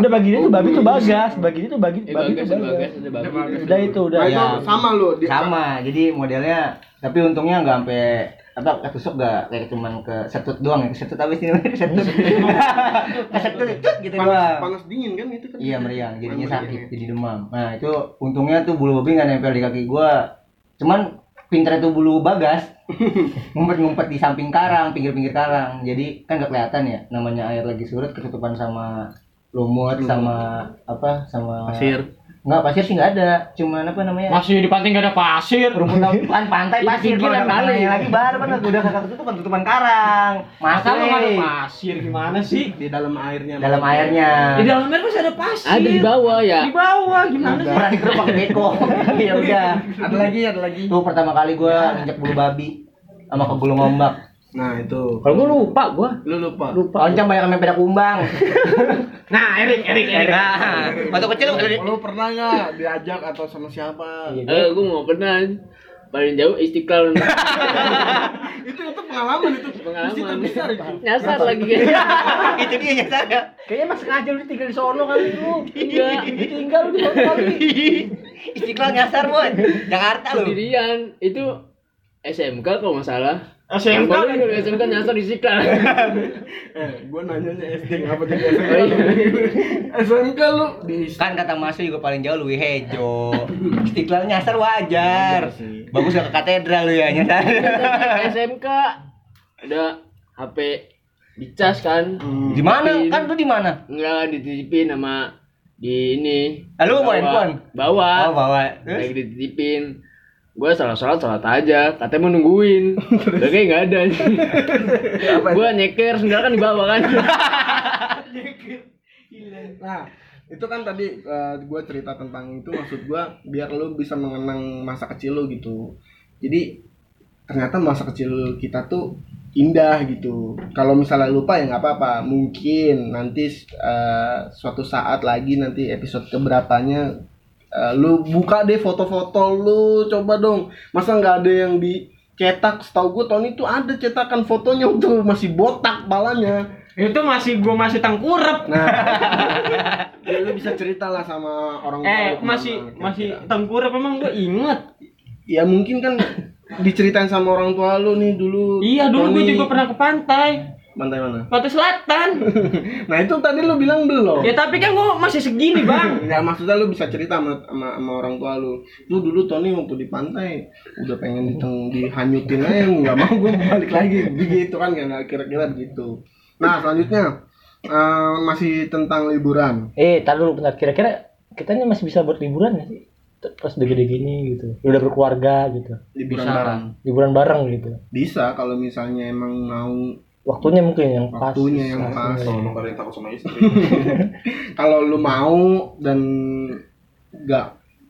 Speaker 4: Udah bagi dia tuh babi tuh bagas, bagi dia tuh bagi
Speaker 3: Eh
Speaker 4: babi
Speaker 3: bagas,
Speaker 4: tuh bagas.
Speaker 3: bagas, ada bagas.
Speaker 4: Udah itu, udah.
Speaker 2: nah
Speaker 1: Ya.
Speaker 2: itu sama lo di
Speaker 1: Sama, jadi modelnya tapi untungnya nggak sampai apa ketusuk nggak kayak cuman ke setut doang ya setut abis ini setut ke setut cut gitu
Speaker 2: panas,
Speaker 1: doang
Speaker 2: panas dingin kan itu kan
Speaker 1: iya meriang jadinya
Speaker 2: Meriang,
Speaker 1: sakit
Speaker 2: iya.
Speaker 1: jadi demam nah itu untungnya tuh bulu babi nggak nempel di kaki gua cuman pinter itu bulu bagas ngumpet-ngumpet di samping karang pinggir-pinggir karang jadi kan nggak kelihatan ya namanya air lagi surut ketutupan sama lumut sama apa sama Enggak, pasir sih enggak ada. Cuman apa namanya?
Speaker 5: Masih di pantai nggak ada pasir.
Speaker 1: rumput laut kan pantai
Speaker 3: Di
Speaker 1: pasir
Speaker 3: pinggiran
Speaker 1: kalau
Speaker 3: kali.
Speaker 1: kali lagi bar bener udah kakak tutupan tutupan karang
Speaker 5: Masa lu nggak ada
Speaker 1: masuk
Speaker 5: pasir gimana sih?
Speaker 2: di dalam airnya
Speaker 1: dalam airnya
Speaker 5: Di dalam air masih ada pasir.
Speaker 3: Ada di bawah ya.
Speaker 5: Di bawah gimana sih?
Speaker 1: berani terus pakai beko ya udah
Speaker 2: ada lagi ada lagi
Speaker 1: itu pertama kali gua nginjek bulu babi sama ke bulu ombak
Speaker 2: nah itu
Speaker 4: Kalau gua lupa gua.
Speaker 2: lu lupa
Speaker 4: Lupa.
Speaker 1: lonceng banyak yang main peda kumbang
Speaker 5: Nah, Erik, Erik, Erik.
Speaker 1: nah waktu kecil
Speaker 2: lu pernah nggak diajak atau sama
Speaker 1: Iya,
Speaker 2: siapa
Speaker 3: Eh gua mau pernah paling jauh istiqlal
Speaker 2: itu itu pengalaman itu
Speaker 3: pengalaman.
Speaker 2: Masjid terbesar itu
Speaker 3: Nyasar lagi kayaknya.
Speaker 1: itu dia ya saya
Speaker 4: Kayaknya mas sengaja lu tinggal di sono kali Iya. lu.
Speaker 3: Enggak.
Speaker 4: Ditinggal lu di sono kali.
Speaker 1: istiqlal nyasar boy Jakarta lu
Speaker 3: sendirian itu SMK kalau nggak salah
Speaker 5: SMK.
Speaker 3: Baru dari SMK nyasar di Istiqlal
Speaker 2: eh gua nanyanya SD ngapa jadi
Speaker 3: Oh, iya.
Speaker 2: SMK SMK lu di
Speaker 1: kan kata masuk juga paling jauh lebih hejo istiqlal nyasar wajar bagus gak ke katedral lu ya nyasar
Speaker 3: SMK ada HP dicas kan
Speaker 2: Hmm.
Speaker 1: di mana kan lu di mana
Speaker 3: enggak dititipin sama di ini
Speaker 1: Ah, lu mau
Speaker 3: Bawa-
Speaker 1: handphone?
Speaker 3: bawa
Speaker 1: Oh, bawa. Terus?
Speaker 3: lagi dititipin Gue sholat-sholat sholat aja, katanya mau nungguin. Udah kayak nggak ada.
Speaker 2: Apa itu?
Speaker 3: gue nyeker, sendal kan di bawah kan.
Speaker 2: Nah, itu kan tadi gue cerita tentang itu maksud gue biar lu bisa mengenang masa kecil lu gitu. Jadi ternyata masa kecil kita tuh indah gitu. Kalau misalnya lupa ya nggak apa-apa. Mungkin nanti eh, suatu saat lagi nanti episode keberapanya eh, lu buka deh foto-foto lu coba dong. Masa nggak ada yang di cetak setahu gue tahun itu ada cetakan fotonya tuh masih botak balanya
Speaker 5: Itu masih gua masih tengkurep.
Speaker 2: Nah, ya lu bisa cerita lah sama orang tua lu
Speaker 5: Eh,
Speaker 2: kemana,
Speaker 5: masih
Speaker 2: kira-kira.
Speaker 5: masih tengkurep emang gua inget.
Speaker 2: Ya mungkin kan diceritain sama orang tua lu nih dulu.
Speaker 5: Iya, dulu gua
Speaker 2: Tony,
Speaker 5: juga pernah ke pantai,
Speaker 2: Pantai mana?
Speaker 5: pantai selatan.
Speaker 2: Nah, itu tadi lu bilang belum.
Speaker 5: Ya tapi kan gua masih segini, Bang.
Speaker 2: Ya maksudnya lu bisa cerita sama, sama, sama orang tua lu. Lu dulu Tony waktu di pantai udah pengen diteng dihanyutin aja nggak mau gue balik lagi begitu kan nggak kira-kira begitu. Nah selanjutnya eh, masih tentang liburan.
Speaker 4: Eh, tar dulu bentar. Kira-kira kita ini masih bisa buat liburan nggak sih? T- Pas udah gede gini gitu. Udah berkeluarga gitu.
Speaker 2: Liburan
Speaker 1: Bisa.
Speaker 2: bareng.
Speaker 4: Liburan bareng gitu.
Speaker 2: Bisa kalau misalnya emang mau
Speaker 4: Waktunya mungkin yang pas.
Speaker 2: Waktunya yang pas.
Speaker 4: Waktunya.
Speaker 6: Kalau lu kalian takut sama istri.
Speaker 2: kalau lu mau dan nggak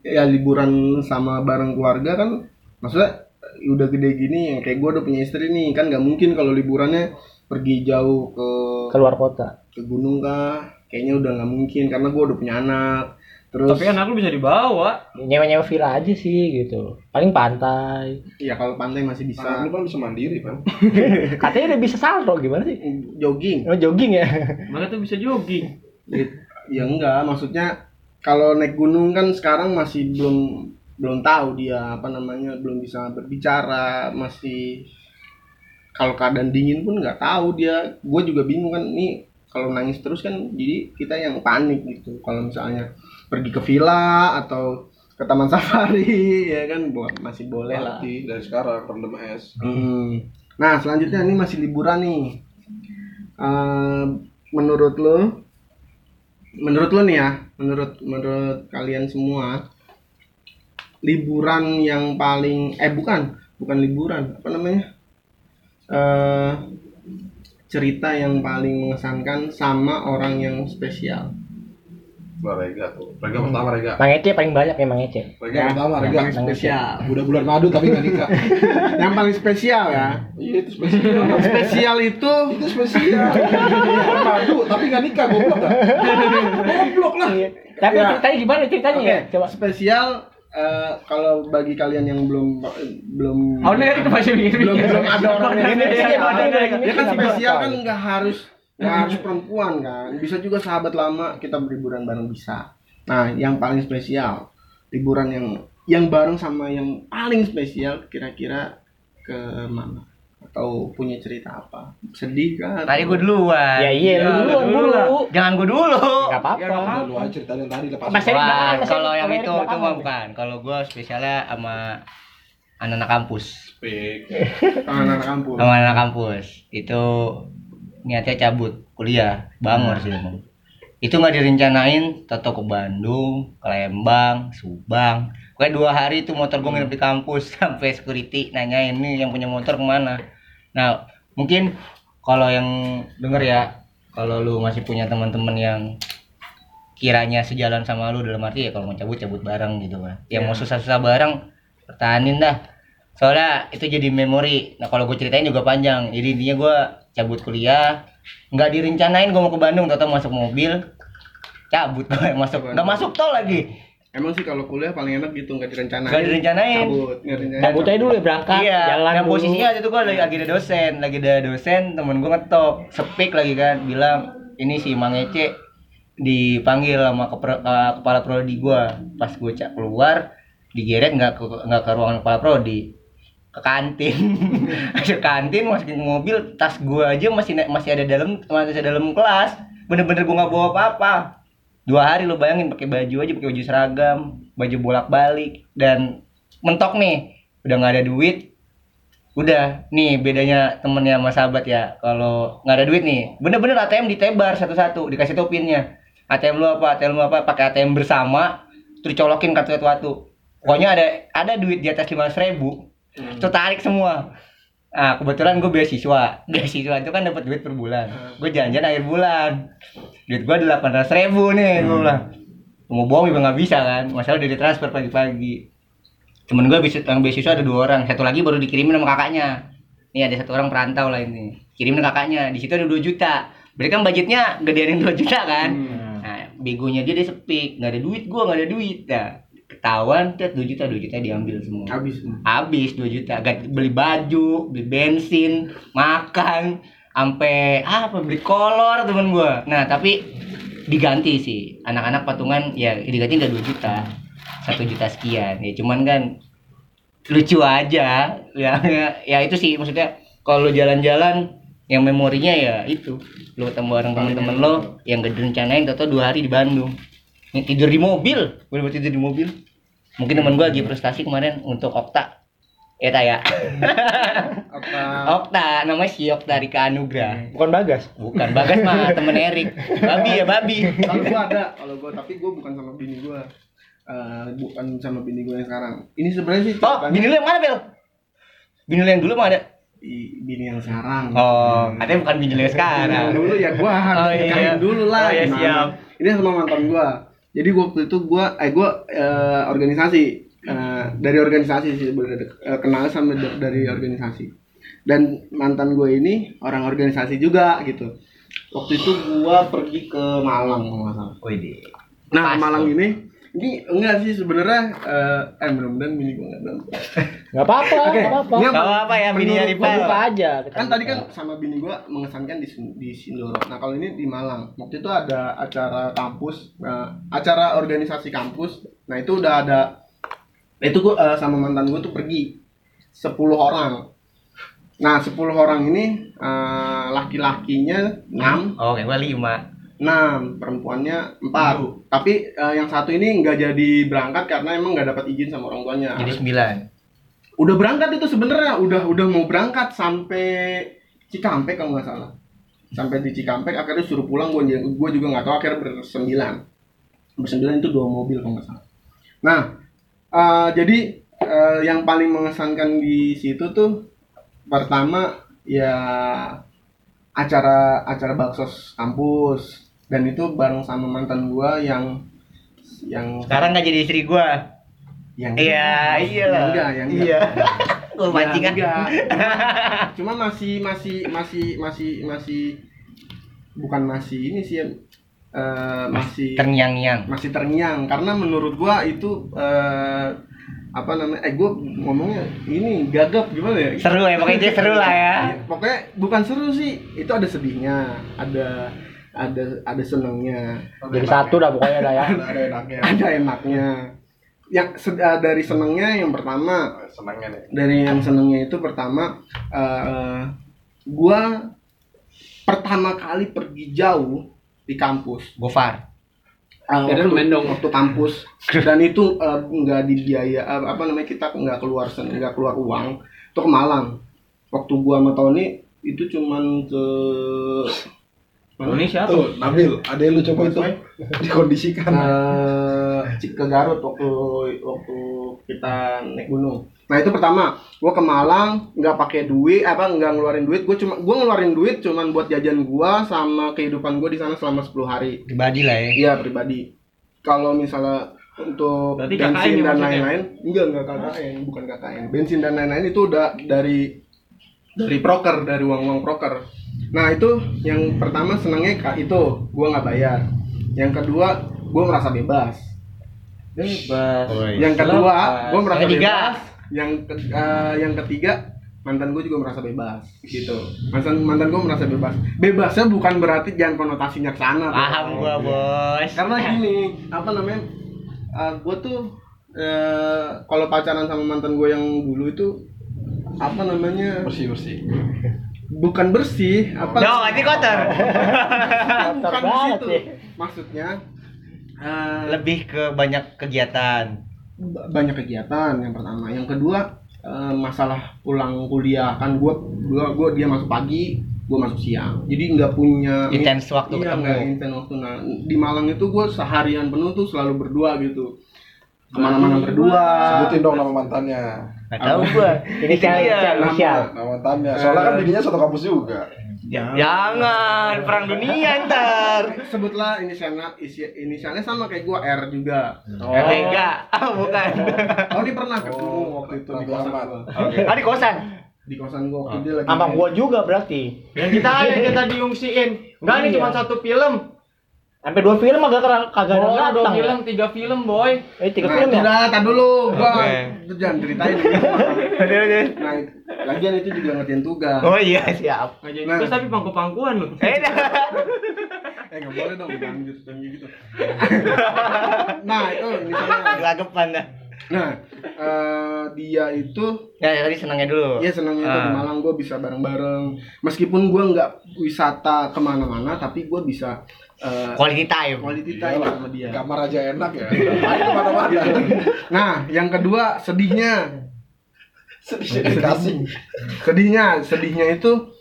Speaker 2: ya liburan sama bareng keluarga kan maksudnya udah gede gini yang kayak gue udah punya istri nih kan nggak mungkin kalau liburannya pergi jauh ke
Speaker 4: Keluar kota.
Speaker 2: ke gunung kah kayaknya udah nggak mungkin karena gue udah punya anak terus
Speaker 5: Tapi anak lu bisa dibawa.
Speaker 4: Nyewa-nyewa villa aja sih gitu. Paling pantai.
Speaker 2: ya kalau pantai masih
Speaker 6: Anak
Speaker 2: bisa
Speaker 6: lu kan bisa mandiri kan.
Speaker 4: Katanya udah bisa salto gimana sih?
Speaker 2: jogging
Speaker 4: Oh, jogging ya?
Speaker 5: Mana tuh bisa jogging.
Speaker 2: ya enggak maksudnya kalau naik gunung kan sekarang masih belum belum tahu dia apa namanya belum bisa berbicara masih kalau keadaan dingin pun nggak tahu dia gue juga bingung kan nih kalau nangis terus kan jadi kita yang panik gitu kalau misalnya pergi ke villa atau ke taman safari ya kan bo- masih boleh lah
Speaker 6: Mati Nah, dari sekarang rendam es.
Speaker 2: Hmm. Nah, selanjutnya ini masih liburan nih. Eh, menurut lo, menurut lo nih ya, menurut menurut kalian semua, liburan yang paling eh bukan bukan liburan apa namanya? Eh, cerita yang paling mengesankan sama orang yang spesial.
Speaker 6: Wah, Rega tuh. Rega
Speaker 2: Iya.
Speaker 6: pertama Rega.
Speaker 4: Mang Ece paling banyak ya Mang Ece.
Speaker 6: Rega pertama Rega.
Speaker 2: yang spesial.
Speaker 6: Udah bulan madu tapi nggak nikah.
Speaker 2: yang paling spesial ya.
Speaker 6: Iya itu spesial.
Speaker 2: Yang spesial itu
Speaker 6: Itu spesial. Bulan madu tapi nggak nikah goblok nggak? Goblok lah.
Speaker 4: Tapi
Speaker 2: Ya.
Speaker 4: ceritanya gimana ceritanya
Speaker 6: Iya,
Speaker 2: Oke,
Speaker 4: ya? Coba.
Speaker 2: spesial eh, kalau bagi kalian yang belum belum
Speaker 5: Oh, Erik masih mikir.
Speaker 2: belum belum ada orang yang
Speaker 5: Iya, iya,
Speaker 2: spesial.
Speaker 5: iya, iya,
Speaker 2: Ya kan spesial kan nggak harus nggak
Speaker 6: Iya.
Speaker 2: harus perempuan kan. Bisa juga sahabat lama kita berliburan bareng bisa. Nah, yang paling spesial liburan yang yang bareng sama yang paling spesial kira-kira ke mana? Atau punya cerita apa? Sedih kan?
Speaker 1: Tadi gue duluan.
Speaker 4: Ya iya, lu duluan
Speaker 5: Iya, lu
Speaker 4: dulu.
Speaker 5: duluan.
Speaker 1: Jangan gue dulu.
Speaker 4: Gak
Speaker 2: Iya,
Speaker 4: apa-apa.
Speaker 6: Nah, Lu aja cerita yang tadi lepas.
Speaker 4: Mas Erik belakangan,
Speaker 1: Bukan,
Speaker 4: Mas Erik.
Speaker 1: kalau yang
Speaker 4: Erik
Speaker 1: itu itu
Speaker 4: belakangan.
Speaker 1: mah bukan. Kalau gue spesialnya sama anak-anak kampus,
Speaker 6: Pik.
Speaker 2: Anak-anak kampus.
Speaker 1: sama anak kampus itu niatnya cabut kuliah, bangor sih emang. Itu nggak direncanain, toto ke Bandung, ke Lembang, Subang. Kayak dua hari itu motor gue nginep di kampus sampai security nanya ini yang punya motor kemana. Nah mungkin kalau yang denger ya, kalau lu masih punya teman-teman yang kiranya sejalan sama lu dalam arti ya kalau mau cabut cabut bareng gitu kan yang mau susah-susah bareng pertahanin dah soalnya itu jadi memori nah kalau gue ceritain juga panjang jadi intinya gue cabut kuliah nggak direncanain gue mau ke Bandung tau masuk mobil cabut gue masuk nggak masuk tol lagi
Speaker 2: Emang sih kalau kuliah paling enak gitu nggak direncanain.
Speaker 1: nggak direncanain
Speaker 2: Cabut, nggak direncanain.
Speaker 4: Cabut aja dulu ya berangkat,
Speaker 1: iya
Speaker 4: jalan
Speaker 1: dan
Speaker 4: dulu.
Speaker 1: posisinya waktu itu gue lagi, lagi ada dosen lagi ada dosen temen gue ngetop sepik lagi kan bilang ini si Mang Ece dipanggil sama kepro- eh, kepala prodi gue pas gue cak keluar digeret nggak ke nggak ke ruangan kepala prodi ke kantin ke kantin masukin ke mobil tas gue aja masih na- masih ada dalam masih ada dalam kelas bener-bener gue nggak bawa apa-apa dua hari lo bayangin pakai baju aja pakai baju seragam baju bolak-balik dan mentok nih udah nggak ada duit udah nih bedanya temennya sama sahabat ya kalau nggak ada duit nih bener-bener ATM ditebar satu-satu dikasih topinnya ATM lu apa ATM lu apa pakai ATM bersama terus colokin kartu kartu pokoknya ada ada duit di atas lima ribu itu tarik Hmm. semua ah kebetulan gue beasiswa beasiswa itu kan dapat duit per bulan gue janjian akhir bulan duit gue delapan ratus ribu nih gue bilang mau bohong juga nggak bisa kan masalah udah ditransfer pagi-pagi temen gue besis- yang beasiswa ada dua orang satu lagi baru dikirimin sama kakaknya nih ada satu orang perantau lah ini kirimin kakaknya di situ ada 2 juta berarti kan budgetnya gedean yang 2 juta kan nah, begonya dia dia sepik nggak ada duit gue nggak ada duit nah, ketahuan tuh 2 juta 2 juta diambil semua
Speaker 2: habis semua.
Speaker 1: habis 2 juta Gat- beli baju beli bensin makan sampai apa beli kolor temen gua nah tapi diganti sih anak-anak patungan ya diganti udah 2 juta satu juta sekian ya cuman kan lucu aja ya ya, ya itu sih maksudnya kalau lu jalan-jalan yang memorinya ya itu lu ketemu orang temen-temen lo yang gak direncanain tau dua hari di Bandung Ini tidur di mobil boleh buat tidur di mobil mungkin temen gua lagi frustasi kemarin untuk Okta ya tak ya
Speaker 2: Apa?
Speaker 1: Okta namanya si Okta Rika Anugrah
Speaker 4: Bukan Bagas.
Speaker 1: bukan Bagas mah temen Erik babi ya babi
Speaker 2: Kalau gua ada, kalau gua tapi gua bukan sama bini gua. Eh, bukan sama bini gua yang sekarang. Ini sebenarnya sih
Speaker 1: oh
Speaker 2: ceritanya
Speaker 1: bini lu yang mana Bel bini lu yang dulu mah ada
Speaker 2: i- bini yang sekarang.
Speaker 1: oh katanya bukan bini lu yang sekarang
Speaker 2: Yang dulu ya gua harus
Speaker 1: Oh, iya.
Speaker 2: nikahin dulu lah.
Speaker 1: Oh, iya,
Speaker 2: gimana.
Speaker 1: siap.
Speaker 2: Ini sama mantan gua. Jadi gua waktu itu gua eh gua eh, organisasi Eh, dari organisasi sih sebenarnya eh, kenal sama da- dari organisasi. Dan mantan gue ini orang organisasi juga gitu. Waktu itu gua pergi ke Malang kalau nggak salah.
Speaker 1: Wih,
Speaker 2: Nah,
Speaker 1: Pas
Speaker 2: Malang ini ini enggak sih sebenarnya eh eh mudah-mudahan mini gua enggak dong.
Speaker 4: Gak apa-apa,
Speaker 2: Oke.
Speaker 4: gak apa-apa.
Speaker 2: Ini
Speaker 1: Gak apa-apa ya, bini
Speaker 2: Menurut-
Speaker 1: dari
Speaker 4: Lupa
Speaker 1: Pak.
Speaker 4: aja. kita
Speaker 2: Kan tadi
Speaker 4: lupa.
Speaker 2: kan sama bini gua mengesankan di Sin- di Sindoro. Nah, kalau ini di Malang. Waktu itu ada acara kampus, nah, acara organisasi kampus. Nah, itu udah ada nah, itu gua eh, sama mantan gua tuh pergi 10 orang. Nah, 10 orang ini eh, laki-lakinya 6,
Speaker 1: Oke, gua lima.
Speaker 2: 6, perempuannya 4. Tapi eh, yang satu ini nggak jadi berangkat karena emang nggak dapat izin sama orang tuanya.
Speaker 1: Jadi sembilan.
Speaker 2: udah berangkat itu sebenarnya, udah udah mau berangkat sampai Cikampek kalau nggak salah. Sampai di Cikampek akhirnya suruh pulang gue gue juga nggak tahu akhirnya bersembilan. Bersembilan itu dua mobil kalau nggak salah. Nah, eh, jadi eh, yang paling mengesankan di situ tuh pertama ya acara acara baksos kampus dan itu bareng sama mantan gua yang yang
Speaker 1: Sekarang nggak jadi istri gua.
Speaker 2: yang
Speaker 1: Iya,
Speaker 2: yang
Speaker 1: iyalah.
Speaker 2: enggak yang enggak.
Speaker 1: Iya. Gua mancing
Speaker 2: Ya,
Speaker 1: kan.
Speaker 2: enggak. Cuma- Cuma masih masih masih masih masih bukan masih ini sih ya, eh, masih
Speaker 1: Terngiang-ngiang.
Speaker 2: masih terngiang karena menurut gua itu eh, apa namanya eh gua ngomongnya ini gagap gimana ya
Speaker 1: Seru ya, pokoknya dia seru lah ya.
Speaker 2: Iya, pokoknya bukan seru sih itu ada sedihnya ada ada ada senangnya
Speaker 4: Jadi satu dah pokoknya dah ya.
Speaker 6: ada enaknya
Speaker 2: ada enaknya yang se- eh, dari senangnya yang pertama
Speaker 6: senangnya nih
Speaker 2: dari yang senengnya itu pertama eh gua pertama kali pergi jauh di kampus
Speaker 1: Gofar.
Speaker 2: Eh,
Speaker 3: Kirain
Speaker 2: waktu,
Speaker 3: mendong.
Speaker 2: waktu kampus dan itu eh, nggak dibiaya eh, apa namanya kita nggak keluar sen- nggak keluar uang itu ke Malang waktu gua sama Tony itu cuman ke
Speaker 5: Ini siapa?
Speaker 6: tuh Nabil ada yang lu coba itu dikondisikan
Speaker 2: eh Cik- ke Garut waktu waktu kita naik gunung. Nah itu pertama, gue ke Malang nggak pakai duit, apa nggak ngeluarin duit, gue cuma gue ngeluarin duit cuman buat jajan gue sama kehidupan gue di sana selama 10 hari.
Speaker 1: Pribadi lah ya.
Speaker 2: Iya pribadi. Kalau misalnya untuk
Speaker 5: Berarti KKN
Speaker 2: bensin
Speaker 5: ya
Speaker 2: dan
Speaker 5: maksudnya?
Speaker 2: lain-lain, enggak enggak KKN, bukan KKN. Bensin dan lain-lain itu udah dari dari proker, dari uang-uang proker. Nah, itu yang pertama senangnya Kak itu gua nggak bayar. Yang kedua, gua merasa bebas. Yang kedua, gua merasa
Speaker 1: Yang ketiga.
Speaker 2: bebas. Yang ke- eh, yang ketiga, mantan gue juga merasa bebas gitu. Mantan mantan gue merasa bebas. Bebasnya bukan berarti jangan konotasinya ke sana.
Speaker 1: Paham
Speaker 2: Bro
Speaker 1: gua, Bos.
Speaker 2: karena gini apa namanya gue tuh eh, kalau pacaran sama mantan gue yang dulu itu apa namanya
Speaker 6: bersih bersih
Speaker 2: bukan bersih apa
Speaker 1: No, nanti kotor.
Speaker 2: bukan di
Speaker 4: Kotor banget
Speaker 2: situ
Speaker 4: ya.
Speaker 2: maksudnya eh,
Speaker 1: Lebih ke banyak kegiatan.
Speaker 2: ba- banyak kegiatan yang pertama yang kedua eh, masalah pulang kuliah kan gue gua gua dia masuk pagi gue masuk siang jadi nggak punya
Speaker 1: Intens waktu
Speaker 2: iya,
Speaker 1: ketemu.
Speaker 2: nggak intens waktu nah di Malang itu gue seharian penuh tuh selalu berdua gitu kemana-mana berdua
Speaker 6: Sebutin dong nama mantannya.
Speaker 1: Nggak tahu gua.
Speaker 4: Ini kan inisial.
Speaker 6: Nama mantannya. Soalnya
Speaker 2: Eh.
Speaker 6: kan bininya satu kampus juga.
Speaker 1: Jangan perang dunia ntar.
Speaker 2: eh, sebutlah inisialnya isi, inisialnya sama kayak gua R juga
Speaker 1: Oh. Enggak, ah, bukan.
Speaker 2: oh ini pernah ketemu
Speaker 6: Oh,
Speaker 2: waktu itu di
Speaker 6: Nabi
Speaker 2: kosan
Speaker 6: Ahmad.
Speaker 2: gua
Speaker 1: Ah di kosan.
Speaker 2: di kosan gua waktu dia lagi
Speaker 4: Sama gua juga berarti.
Speaker 5: Yang kita yang kita diungsiin. Enggak ini
Speaker 4: Iya.
Speaker 5: cuma satu film.
Speaker 4: Sampai dua film agak kera- kagak ada
Speaker 5: Oh, dua
Speaker 4: datang.
Speaker 5: film, tiga film, boy.
Speaker 4: ya? Eh, tiga
Speaker 2: Nah,
Speaker 4: film ya?
Speaker 2: udah, tar dulu, gua
Speaker 5: Oke.
Speaker 2: jangan ceritain. nah, lagian itu juga ngertiin tugas.
Speaker 1: Oh iya siap.
Speaker 5: Nggak jadi
Speaker 2: Nah.
Speaker 5: terus tapi pangku-pangkuan lu.
Speaker 1: Eh, dah.
Speaker 2: Eh nggak boleh dong lanjut jangan gitu. nah itu misalnya,
Speaker 1: Gelagapan dah.
Speaker 2: nah eh, dia itu
Speaker 1: Ya ya, tadi senangnya dulu.
Speaker 2: ya senangnya itu di
Speaker 1: Ah.
Speaker 2: Malang gue bisa bareng-bareng. Meskipun gue nggak wisata kemana-mana, tapi gue bisa eh,
Speaker 1: Quality time.
Speaker 2: quality time
Speaker 6: Iyalah,
Speaker 2: sama dia.
Speaker 6: Kamar aja enak ya. Main kemana-mana.
Speaker 2: Nah yang kedua sedihnya,
Speaker 6: Sedih dikasih.
Speaker 2: sedihnya, sedihnya itu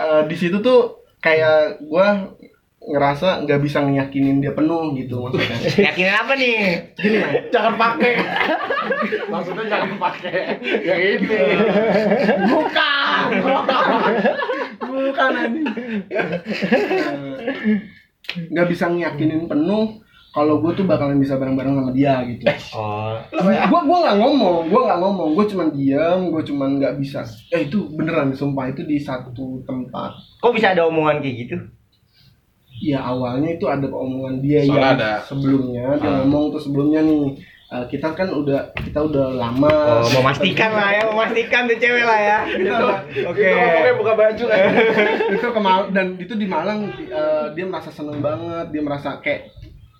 Speaker 2: eh, di situ tuh kayak gue ngerasa nggak bisa ngeyakinin dia penuh gitu maksudnya.
Speaker 1: Yakinin apa nih?
Speaker 6: Jangan pakai. Maksudnya jangan pakai. Yang ini.
Speaker 2: bukan anjing Eh, nggak bisa ngiyakinin penuh kalau gue tuh bakalan bisa bareng-bareng sama dia gitu
Speaker 1: Oh.
Speaker 2: gue gua nggak ngomong gue nggak ngomong gue cuman diam gue cuman nggak bisa eh itu beneran sumpah itu di satu tempat
Speaker 1: Kok bisa ada omongan kayak gitu?
Speaker 2: ya awalnya itu ada omongan dia
Speaker 6: Soalnya
Speaker 2: yang
Speaker 6: ada.
Speaker 2: sebelumnya dia ngomong tuh sebelumnya nih eh, kita kan udah kita udah lama
Speaker 1: Oh, memastikan lah ya, memastikan tuh cewek lah ya. Oke.
Speaker 6: buka baju kan.
Speaker 2: itu ke Mal- dan itu di Malang eh, dia merasa seneng banget dia merasa kayak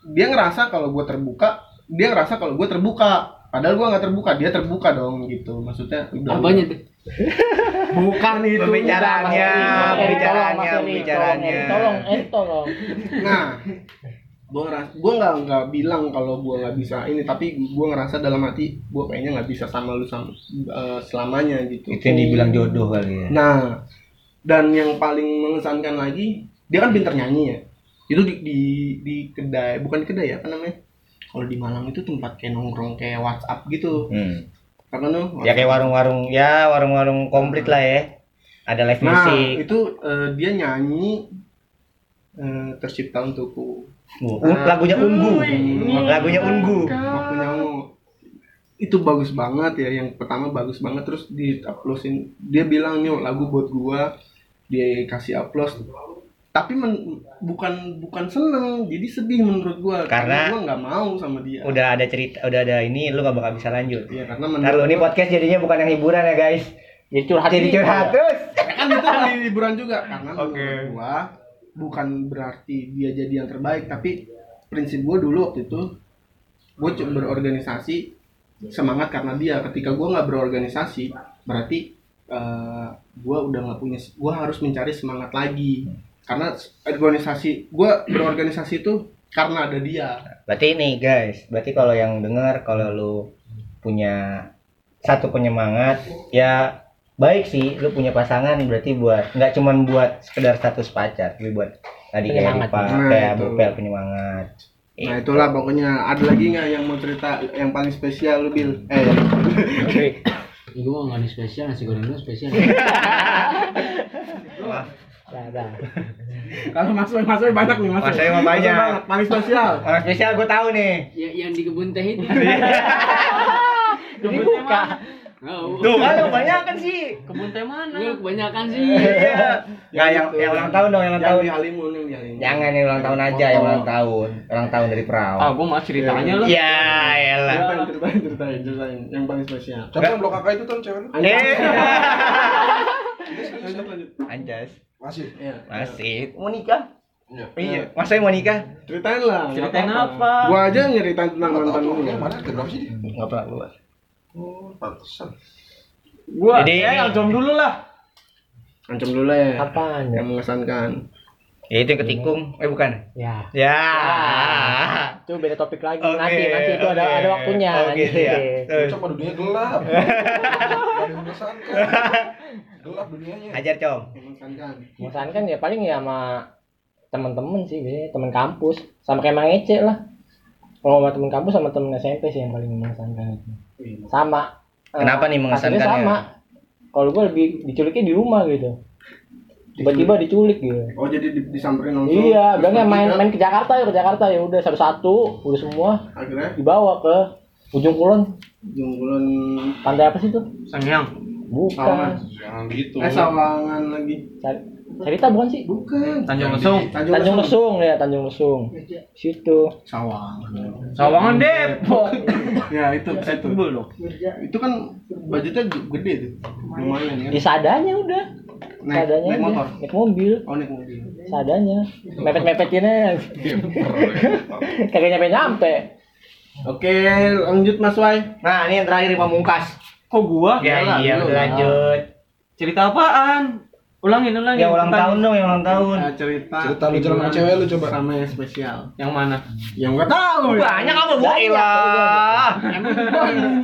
Speaker 2: dia ngerasa kalau gue terbuka dia ngerasa kalau gue terbuka padahal gue nggak terbuka dia terbuka dong gitu maksudnya gitu. udah-
Speaker 3: Apanya tuh?
Speaker 2: bukan itu
Speaker 1: Pembicaraannya,
Speaker 4: Mas
Speaker 1: eh,
Speaker 4: Eri,
Speaker 1: pembicaraannya,
Speaker 4: tolong, Mas Eri,
Speaker 1: pembicaraannya.
Speaker 4: Tolong, eh tolong.
Speaker 2: nah gue ngerasa gue nggak nggak bilang kalau gue nggak bisa ini tapi gue ngerasa dalam hati gue kayaknya nggak bisa sama lu sam- eh, selamanya gitu
Speaker 1: Itu yang dibilang jodoh kali ya.
Speaker 2: Nah, dan yang paling mengesankan lagi, dia kan pinter nyanyi ya. Itu di, di, di kedai, bukan kedai ya, apa namanya? Kalau di Malang itu tempat kayak nongkrong kayak WhatsApp gitu.
Speaker 1: Hmm.
Speaker 2: Karena tuh
Speaker 1: Ya kayak warung-warung, ya warung-warung komplit lah ya. Ada live
Speaker 2: Nah,
Speaker 1: music.
Speaker 2: itu eh, dia nyanyi eh, tercipta untukku.
Speaker 1: Um, lagunya Ungu. Lagunya Ungu.
Speaker 2: Waktu nyamu itu bagus banget ya yang pertama bagus banget terus di uploadin dia bilang nih lagu buat gua dia kasih upload tapi men- bukan bukan seneng jadi sedih menurut gua
Speaker 1: Karena-
Speaker 2: gua nggak mau sama dia
Speaker 1: Udah ada cerita, udah ada ini, lu gak bakal bisa lanjut.
Speaker 2: ya karena
Speaker 1: Ntar lu,
Speaker 2: menurut
Speaker 1: ini podcast jadinya bukan yang hiburan ya guys.
Speaker 4: Jadi curhat.
Speaker 1: Jadi
Speaker 4: nih.
Speaker 1: curhat terus.
Speaker 2: kan itu di liburan juga karena menurut gua bukan berarti dia jadi yang terbaik tapi prinsip gua dulu waktu itu gua cuma berorganisasi semangat karena dia ketika gua nggak berorganisasi berarti eh, gua udah nggak punya gua harus mencari semangat lagi karena organisasi gua berorganisasi itu karena ada dia
Speaker 1: Berarti ini guys, berarti kalau yang dengar kalau lu punya satu penyemangat ya baik sih lu punya pasangan berarti buat nggak cuman buat sekedar status pacar tapi buat tadi kayak
Speaker 4: Penyemangat.
Speaker 1: lupa
Speaker 2: Nah,
Speaker 1: kayak
Speaker 2: itu.
Speaker 1: bupel penyemangat
Speaker 2: nah itulah pokoknya ada lagi nggak yang mau cerita yang paling spesial lu bil eh
Speaker 4: Oke.
Speaker 3: Gue mau mandi spesial, nasi goreng dulu spesial.
Speaker 4: Nah, nah.
Speaker 2: kalau mas Boy- mas Boy banyak nih mas Boy.
Speaker 1: Mas Boy mah
Speaker 2: Mas Boy
Speaker 1: banyak.
Speaker 2: paling spesial
Speaker 1: orang spesial gue tahu nih
Speaker 3: ya, yang di kebun teh itu.
Speaker 4: Jadi buka.
Speaker 1: tuh
Speaker 3: Tuh.
Speaker 1: kan lu banyak kan sih
Speaker 5: Kebun teh mana?
Speaker 3: Lu kebanyakan sih.
Speaker 1: iya nggak yang yang ulang tahun dong yang ulang
Speaker 2: yang
Speaker 1: tahun
Speaker 2: di Halimun yang di Halimun
Speaker 1: jangan yang ulang tahun aja yang ulang tahun ulang tahun dari perahu
Speaker 5: Ah, gua mah ceritanya lah.
Speaker 1: ya elah
Speaker 2: Ceritain, ceritain, ceritain, ceritain. Yang paling spesial.
Speaker 6: Tapi yang blok kakak itu tuh cewek lu.
Speaker 1: eh
Speaker 2: Lanjut, lanjut.
Speaker 1: anjas
Speaker 6: Masih.
Speaker 2: Iya.
Speaker 1: masih mau nikah
Speaker 6: Iya.
Speaker 1: iya masa mau nikah
Speaker 2: Ceritain lah.
Speaker 5: Ceritain
Speaker 2: nggak apa-apa.
Speaker 5: apa?
Speaker 2: Gua aja nyeritain tentang
Speaker 6: Nggak
Speaker 2: mantan ya.
Speaker 6: tahu
Speaker 2: gua.
Speaker 6: dia mana ada berapa sih dia?
Speaker 1: nggak pernah gua
Speaker 6: Oh, pantesan.
Speaker 5: Gua
Speaker 1: Jadi
Speaker 5: ya
Speaker 1: ini-
Speaker 5: ancam dulu lah.
Speaker 2: Ancam dulu lah ya.
Speaker 4: Apaan ya?
Speaker 2: Yang mengesankan.
Speaker 1: ya itu yang ketikung eh bukan
Speaker 4: Ya.
Speaker 1: ya
Speaker 4: Itu beda topik lagi
Speaker 1: Oke,
Speaker 4: Ah. nanti nanti itu ada
Speaker 1: oke.
Speaker 4: ada waktunya.
Speaker 1: Oke, iya. siap.
Speaker 2: Eh.
Speaker 1: Terus,
Speaker 6: Cuma dunia gelap. Iya, Ada yang mengesankan. Gelap dunianya.
Speaker 1: ajar com
Speaker 2: Yang mengesankan.
Speaker 4: Bosankan ya paling ya sama teman-teman sih, biasanya teman kampus sama kayak Mang Ece lah. Kalau sama temen kampus sama temen SMP sih yang paling mengesankan itu. Sama. Eh,
Speaker 1: Kenapa nih
Speaker 4: hasilnya
Speaker 1: mengesankannya?
Speaker 4: Sama. Kalau gue lebih diculiknya di rumah gitu. Tiba-tiba diculik gitu.
Speaker 2: Oh jadi di- disamperin langsung.
Speaker 4: Iya,
Speaker 2: Terus
Speaker 4: bilangnya main
Speaker 2: bertiga,
Speaker 4: main ke Jakarta ya ke Jakarta ya udah satu-satu udah semua
Speaker 2: Akhirnya
Speaker 4: dibawa ke ujung kulon
Speaker 2: jungkulan
Speaker 4: pantai apa sih tuh?
Speaker 5: Sangyang.
Speaker 4: Bukan.
Speaker 2: sawangan.
Speaker 6: Jangan gitu.
Speaker 2: Eh sawangan lagi.
Speaker 4: Cari- Cerita bukan sih?
Speaker 2: Bukan.
Speaker 5: Tanjung Lesung.
Speaker 4: Tanjung Lesung ya Tanjung Lesung. Situ.
Speaker 2: Sawangan.
Speaker 5: Sawangan Depok.
Speaker 2: Ya itu itu.
Speaker 5: Sebel dong.
Speaker 2: Itu kan budgetnya gede tuh. Lumayan ya.
Speaker 4: Di sadanya udah.
Speaker 2: Naik,
Speaker 4: sadanya
Speaker 2: naik
Speaker 4: aja.
Speaker 2: motor.
Speaker 4: Naik mobil.
Speaker 2: Oh naik mobil.
Speaker 4: Sadanya. Mepet-mepetinnya kagak nyampe-nyampe.
Speaker 2: Oke lanjut Mas Wai.
Speaker 1: Nah, ini yang terakhir di pamungkas.
Speaker 5: Kok gua?
Speaker 1: Ya, iya,
Speaker 2: lu.
Speaker 1: udah lanjut.
Speaker 5: Cerita apaan? Ulangin, ulangin. Eh,
Speaker 1: Yang ulang tahun dong, yang ulang tahun.
Speaker 2: Nah, cerita.
Speaker 6: Cerita lu jalan sama cewek lu coba.
Speaker 2: Sama yang spesial.
Speaker 5: Yang mana?
Speaker 2: Yang gak tahu. ya.
Speaker 1: Banyak apa gua ilah.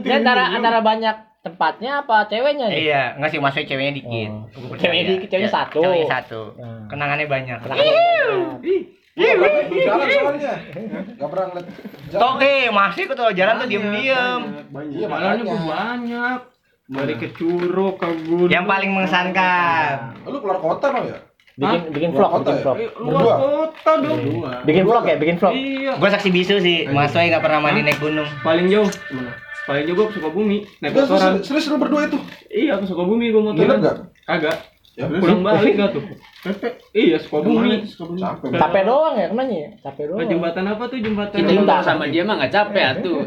Speaker 4: Ini antara antara banyak tempatnya apa ceweknya nih?
Speaker 1: Iya, enggak sih maksudnya ceweknya dikit.
Speaker 4: Oh.
Speaker 1: Gua percaya.
Speaker 4: Ceweknya dikit, ceweknya
Speaker 1: Ya,
Speaker 4: satu.
Speaker 1: Ceweknya satu.
Speaker 4: Hmm.
Speaker 1: Kenangannya banyak.
Speaker 6: iya, Lu Jalan soalnya. Gak pernah ngeliat. jalan.
Speaker 1: Tok eh masih kok jalan tuh diem-diem.
Speaker 6: Iya
Speaker 2: Banyak.
Speaker 5: Jalannya
Speaker 6: makanya.
Speaker 5: gua banyak. Dari ke Curug ke Gunung. Eh,
Speaker 1: Yang paling mengesankan.
Speaker 6: Lu keluar kota mau ya?
Speaker 4: Bikin bikin vlog,
Speaker 6: Kota
Speaker 4: bikin
Speaker 6: ya?
Speaker 4: vlog.
Speaker 5: Eh,
Speaker 6: Berdua.
Speaker 5: Luar kota dong.
Speaker 2: Dua.
Speaker 4: Bikin vlog ya, bikin vlog.
Speaker 5: Iya.
Speaker 1: Gua saksi bisu sih, Mas Wai enggak pernah mandi naik gunung.
Speaker 5: Paling jauh. Mana? Paling jauh gua ke Sukabumi. Naik
Speaker 6: Terus
Speaker 5: motoran.
Speaker 6: Iya, serius- serius lu berdua itu?
Speaker 5: Iya, ke Sukabumi gua motoran.
Speaker 6: Nginep nggak?
Speaker 5: Kagak.
Speaker 6: Ya,
Speaker 5: Pulang balik gak tuh? Iya, Sukabumi.
Speaker 6: Capek.
Speaker 4: Capek doang ya kenanya ya? Capek
Speaker 5: Oh,
Speaker 4: doang.
Speaker 5: jembatan apa tuh jembatan?
Speaker 4: Kita
Speaker 3: Kita
Speaker 4: minta.
Speaker 3: minta sama dia mah nggak capek tuh.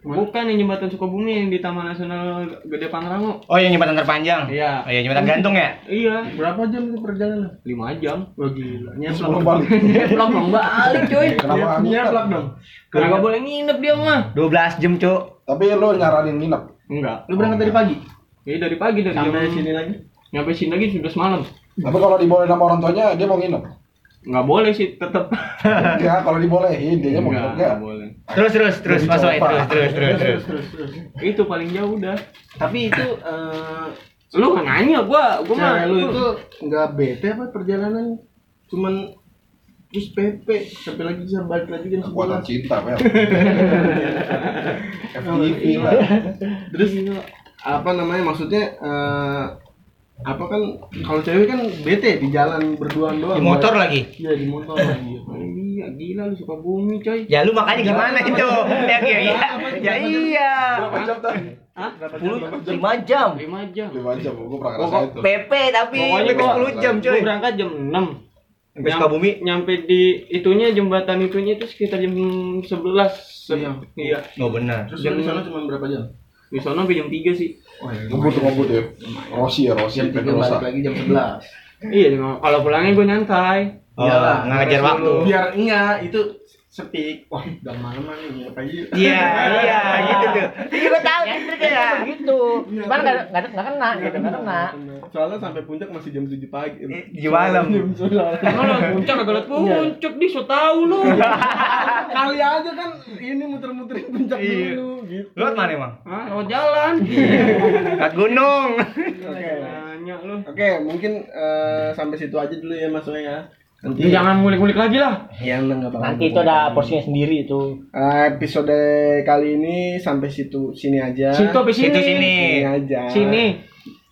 Speaker 5: Bukan yang jembatan Sukabumi yang di Taman Nasional Gede Pangrango.
Speaker 1: Oh, yang jembatan terpanjang.
Speaker 5: Iya.
Speaker 1: Oh iya, jembatan gantung ya?
Speaker 5: Iya,
Speaker 2: Berapa jam itu perjalanan?
Speaker 5: 5 jam.
Speaker 2: Wah gila. Iya,
Speaker 6: Terus
Speaker 2: Nyeplak.
Speaker 6: pulang balik.
Speaker 3: Pulang pulang balik coy.
Speaker 6: Kenapa
Speaker 2: Nyeplak
Speaker 6: nginep?
Speaker 2: dong.
Speaker 5: Iya, Karena gak boleh nginep dia mah.
Speaker 1: 12 jam, Cuk.
Speaker 6: Tapi lu nyaranin nginep.
Speaker 5: Enggak.
Speaker 2: Lu berangkat dari pagi?
Speaker 5: Jadi Iya, dari pagi dari
Speaker 2: Sampai
Speaker 5: jam
Speaker 2: sini lagi?
Speaker 5: nyampe sini lagi sudah semalam.
Speaker 6: Tapi kalau dibolehin sama orang tuanya dia mau nginep.
Speaker 5: Nggak boleh sih, tetap.
Speaker 6: Enggak, kalau dibolehin dia mau nginep
Speaker 5: Enggak,
Speaker 6: enggak.
Speaker 5: nggak boleh.
Speaker 1: Terus terus terus Mas Wai, terus terus terus terus.
Speaker 5: Itu paling jauh udah.
Speaker 2: Tapi itu eh
Speaker 5: Lu nggak nanya gua, gua mah.
Speaker 2: cewek lu itu nggak bete apa perjalanan? Cuman terus PP sampai lagi bisa balik lagi kan jam
Speaker 6: Kekuatan
Speaker 2: sebelas.
Speaker 6: cinta, Mel. FTV lah.
Speaker 2: Terus itu apa namanya maksudnya eh apa kan kalau cewek kan bete di jalan berduaan doang.
Speaker 1: Di motor lagi.
Speaker 2: Iya di motor lagi.
Speaker 5: Iya, gila lu suka bumi, coy.
Speaker 1: Ya lu makanya gimana itu? Ya iya. Ya iya.
Speaker 6: Berapa jam tadi?
Speaker 5: Hah?
Speaker 1: 10 5 jam.
Speaker 5: 5 jam.
Speaker 6: 5 jam, gua
Speaker 2: Oh,
Speaker 6: pernah ngerasain itu.
Speaker 1: PP Oh, tapi
Speaker 5: Pokoknya
Speaker 1: PP
Speaker 5: gua-
Speaker 1: 10 jam,
Speaker 5: Gue
Speaker 1: coy.
Speaker 5: berangkat jam 6
Speaker 1: Sampai Sukabumi.
Speaker 5: nyampe di itunya jembatan itunya itu sekitar jam 11
Speaker 2: Iya.
Speaker 5: iya
Speaker 1: Oh benar.
Speaker 2: Terus lu di sana cuma berapa jam?
Speaker 5: di sana sampai jam 3 sih
Speaker 6: Ngebut ngebut ya. Rossi ya, Rossi
Speaker 2: Jam tiga
Speaker 6: Pedrosa.
Speaker 2: balik lagi jam sebelas.
Speaker 5: iya memang. kalau pulangnya gue nyantai
Speaker 1: Oh, nggak ngejar waktu.
Speaker 5: Iya.
Speaker 2: Biar enggak itu sepi. Wah, udah malam aja nginep aja.
Speaker 1: Iya, iya gitu tuh. Iya gua tahu kan triknya.
Speaker 4: gitu. Cuman nggak nggak nggak kena gitu, nggak kena.
Speaker 2: Soalnya sampai puncak masih jam 7 pagi.
Speaker 1: Eh, di malam.
Speaker 2: Jam 9.
Speaker 5: kalau lo puncak agak liat puncak di so tau lu
Speaker 2: Kali aja kan ini muter-muterin puncak dulu gitu.
Speaker 1: Iya. Lu lewat mana emang?
Speaker 5: Hah, lewat jalan Iya.
Speaker 1: Lewat gunung.
Speaker 2: Oke.
Speaker 5: nanya lu
Speaker 2: Oke, mungkin eh, sampai situ aja dulu ya Mas Wei ya. Nanti
Speaker 5: Lu jangan ngulik-ngulik lagi lah
Speaker 2: yang enggak apa-apa.
Speaker 4: Nanti itu ada porsinya sendiri itu.
Speaker 2: Eh, episode kali ini sampai situ sini aja.
Speaker 5: situ apa sini
Speaker 1: Ya. Situ sini.
Speaker 2: Sini aja.
Speaker 5: sini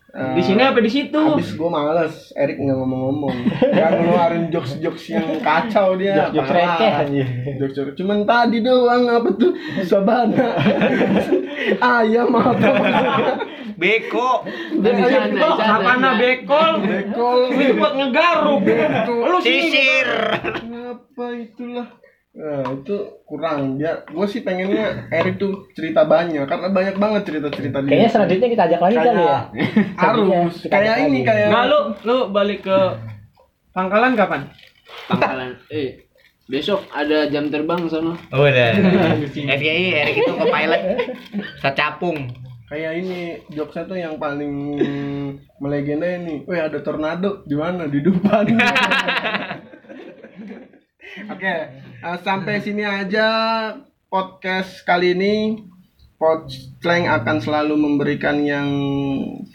Speaker 2: Eh,
Speaker 5: di sini apa di situ
Speaker 2: Abis gue males, Erik nggak ngomong-ngomong Gak ngeluarin jokes-jokes yang kacau dia
Speaker 4: Jok
Speaker 2: Iya, parah.
Speaker 4: receh aja.
Speaker 2: Jokes-jokes, cuman tadi doang apa tuh Sabana Ayam apa
Speaker 1: Beko.
Speaker 3: Dan di sana, di sana.
Speaker 5: Sapana bekol
Speaker 2: Bekol
Speaker 5: itu buat ngegaruk lu sini
Speaker 1: Sisir.
Speaker 2: Apa itulah Nah, itu kurang dia gue sih pengennya Erik tuh cerita banyak karena banyak banget cerita-cerita dia
Speaker 4: Kayaknya selanjutnya kita ajak lagi kali ya.
Speaker 2: harus
Speaker 4: Selanjutnya kita
Speaker 2: kayak
Speaker 4: ajak
Speaker 2: ini
Speaker 4: lagi.
Speaker 2: kayak
Speaker 5: nggak Nah, lu lu balik ke pangkalan kapan
Speaker 3: Pangkalan. Eh besok ada jam terbang sana.
Speaker 5: Oh,
Speaker 1: Udah. FYI Erik itu ke pilot. Secapung.
Speaker 2: kayak ini jokesnya tuh yang paling melegenda ini weh ada tornado di mana di Dufan oke eh, sampai sini aja podcast kali ini Podsleng akan selalu memberikan yang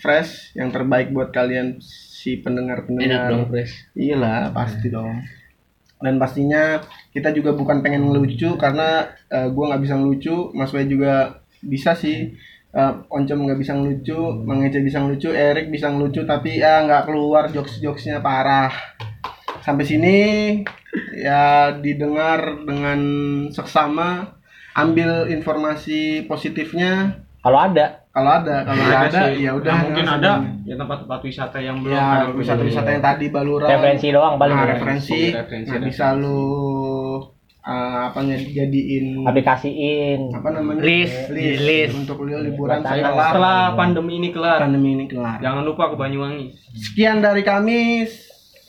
Speaker 2: fresh yang terbaik buat kalian
Speaker 3: Enak
Speaker 2: si
Speaker 3: dong
Speaker 2: pendengar-pendengar
Speaker 3: Pres.
Speaker 2: iyalah pasti dong Iya. dan pastinya kita juga bukan pengen ngelucu karena eh, gua nggak bisa ngelucu Mas Wei juga bisa sih Eh, Oncom nggak bisa ngelucu Mang Ece bisa ngelucu Erik bisa ngelucu tapi ya nggak keluar jokes jokesnya parah sampai sini ya didengar dengan seksama ambil informasi positifnya
Speaker 4: Kalau ada,
Speaker 2: kalau ada kalau nggak ada
Speaker 5: Iya sih.
Speaker 2: ya udah
Speaker 5: Nah, mungkin
Speaker 2: nggak
Speaker 5: ada
Speaker 2: usah
Speaker 5: ya tempat-tempat wisata yang belum
Speaker 2: ya
Speaker 5: ada
Speaker 2: wisata-wisata yang tadi baluran
Speaker 4: referensi doang paling.
Speaker 2: Nah,
Speaker 4: ya.
Speaker 2: referensi,
Speaker 6: Referensi,
Speaker 2: nah,
Speaker 6: referensi.
Speaker 2: bisa lu eh, apa nih jadiin
Speaker 4: Mm. Aplikasiin.
Speaker 2: apa namanya
Speaker 1: List,
Speaker 2: list,
Speaker 1: list.
Speaker 2: untuk lu liburan
Speaker 4: Buat
Speaker 2: setelah
Speaker 4: anak.
Speaker 5: setelah pandemi ini kelar
Speaker 2: pandemi ini kelar
Speaker 5: jangan lupa ke Banyuwangi
Speaker 2: sekian dari kami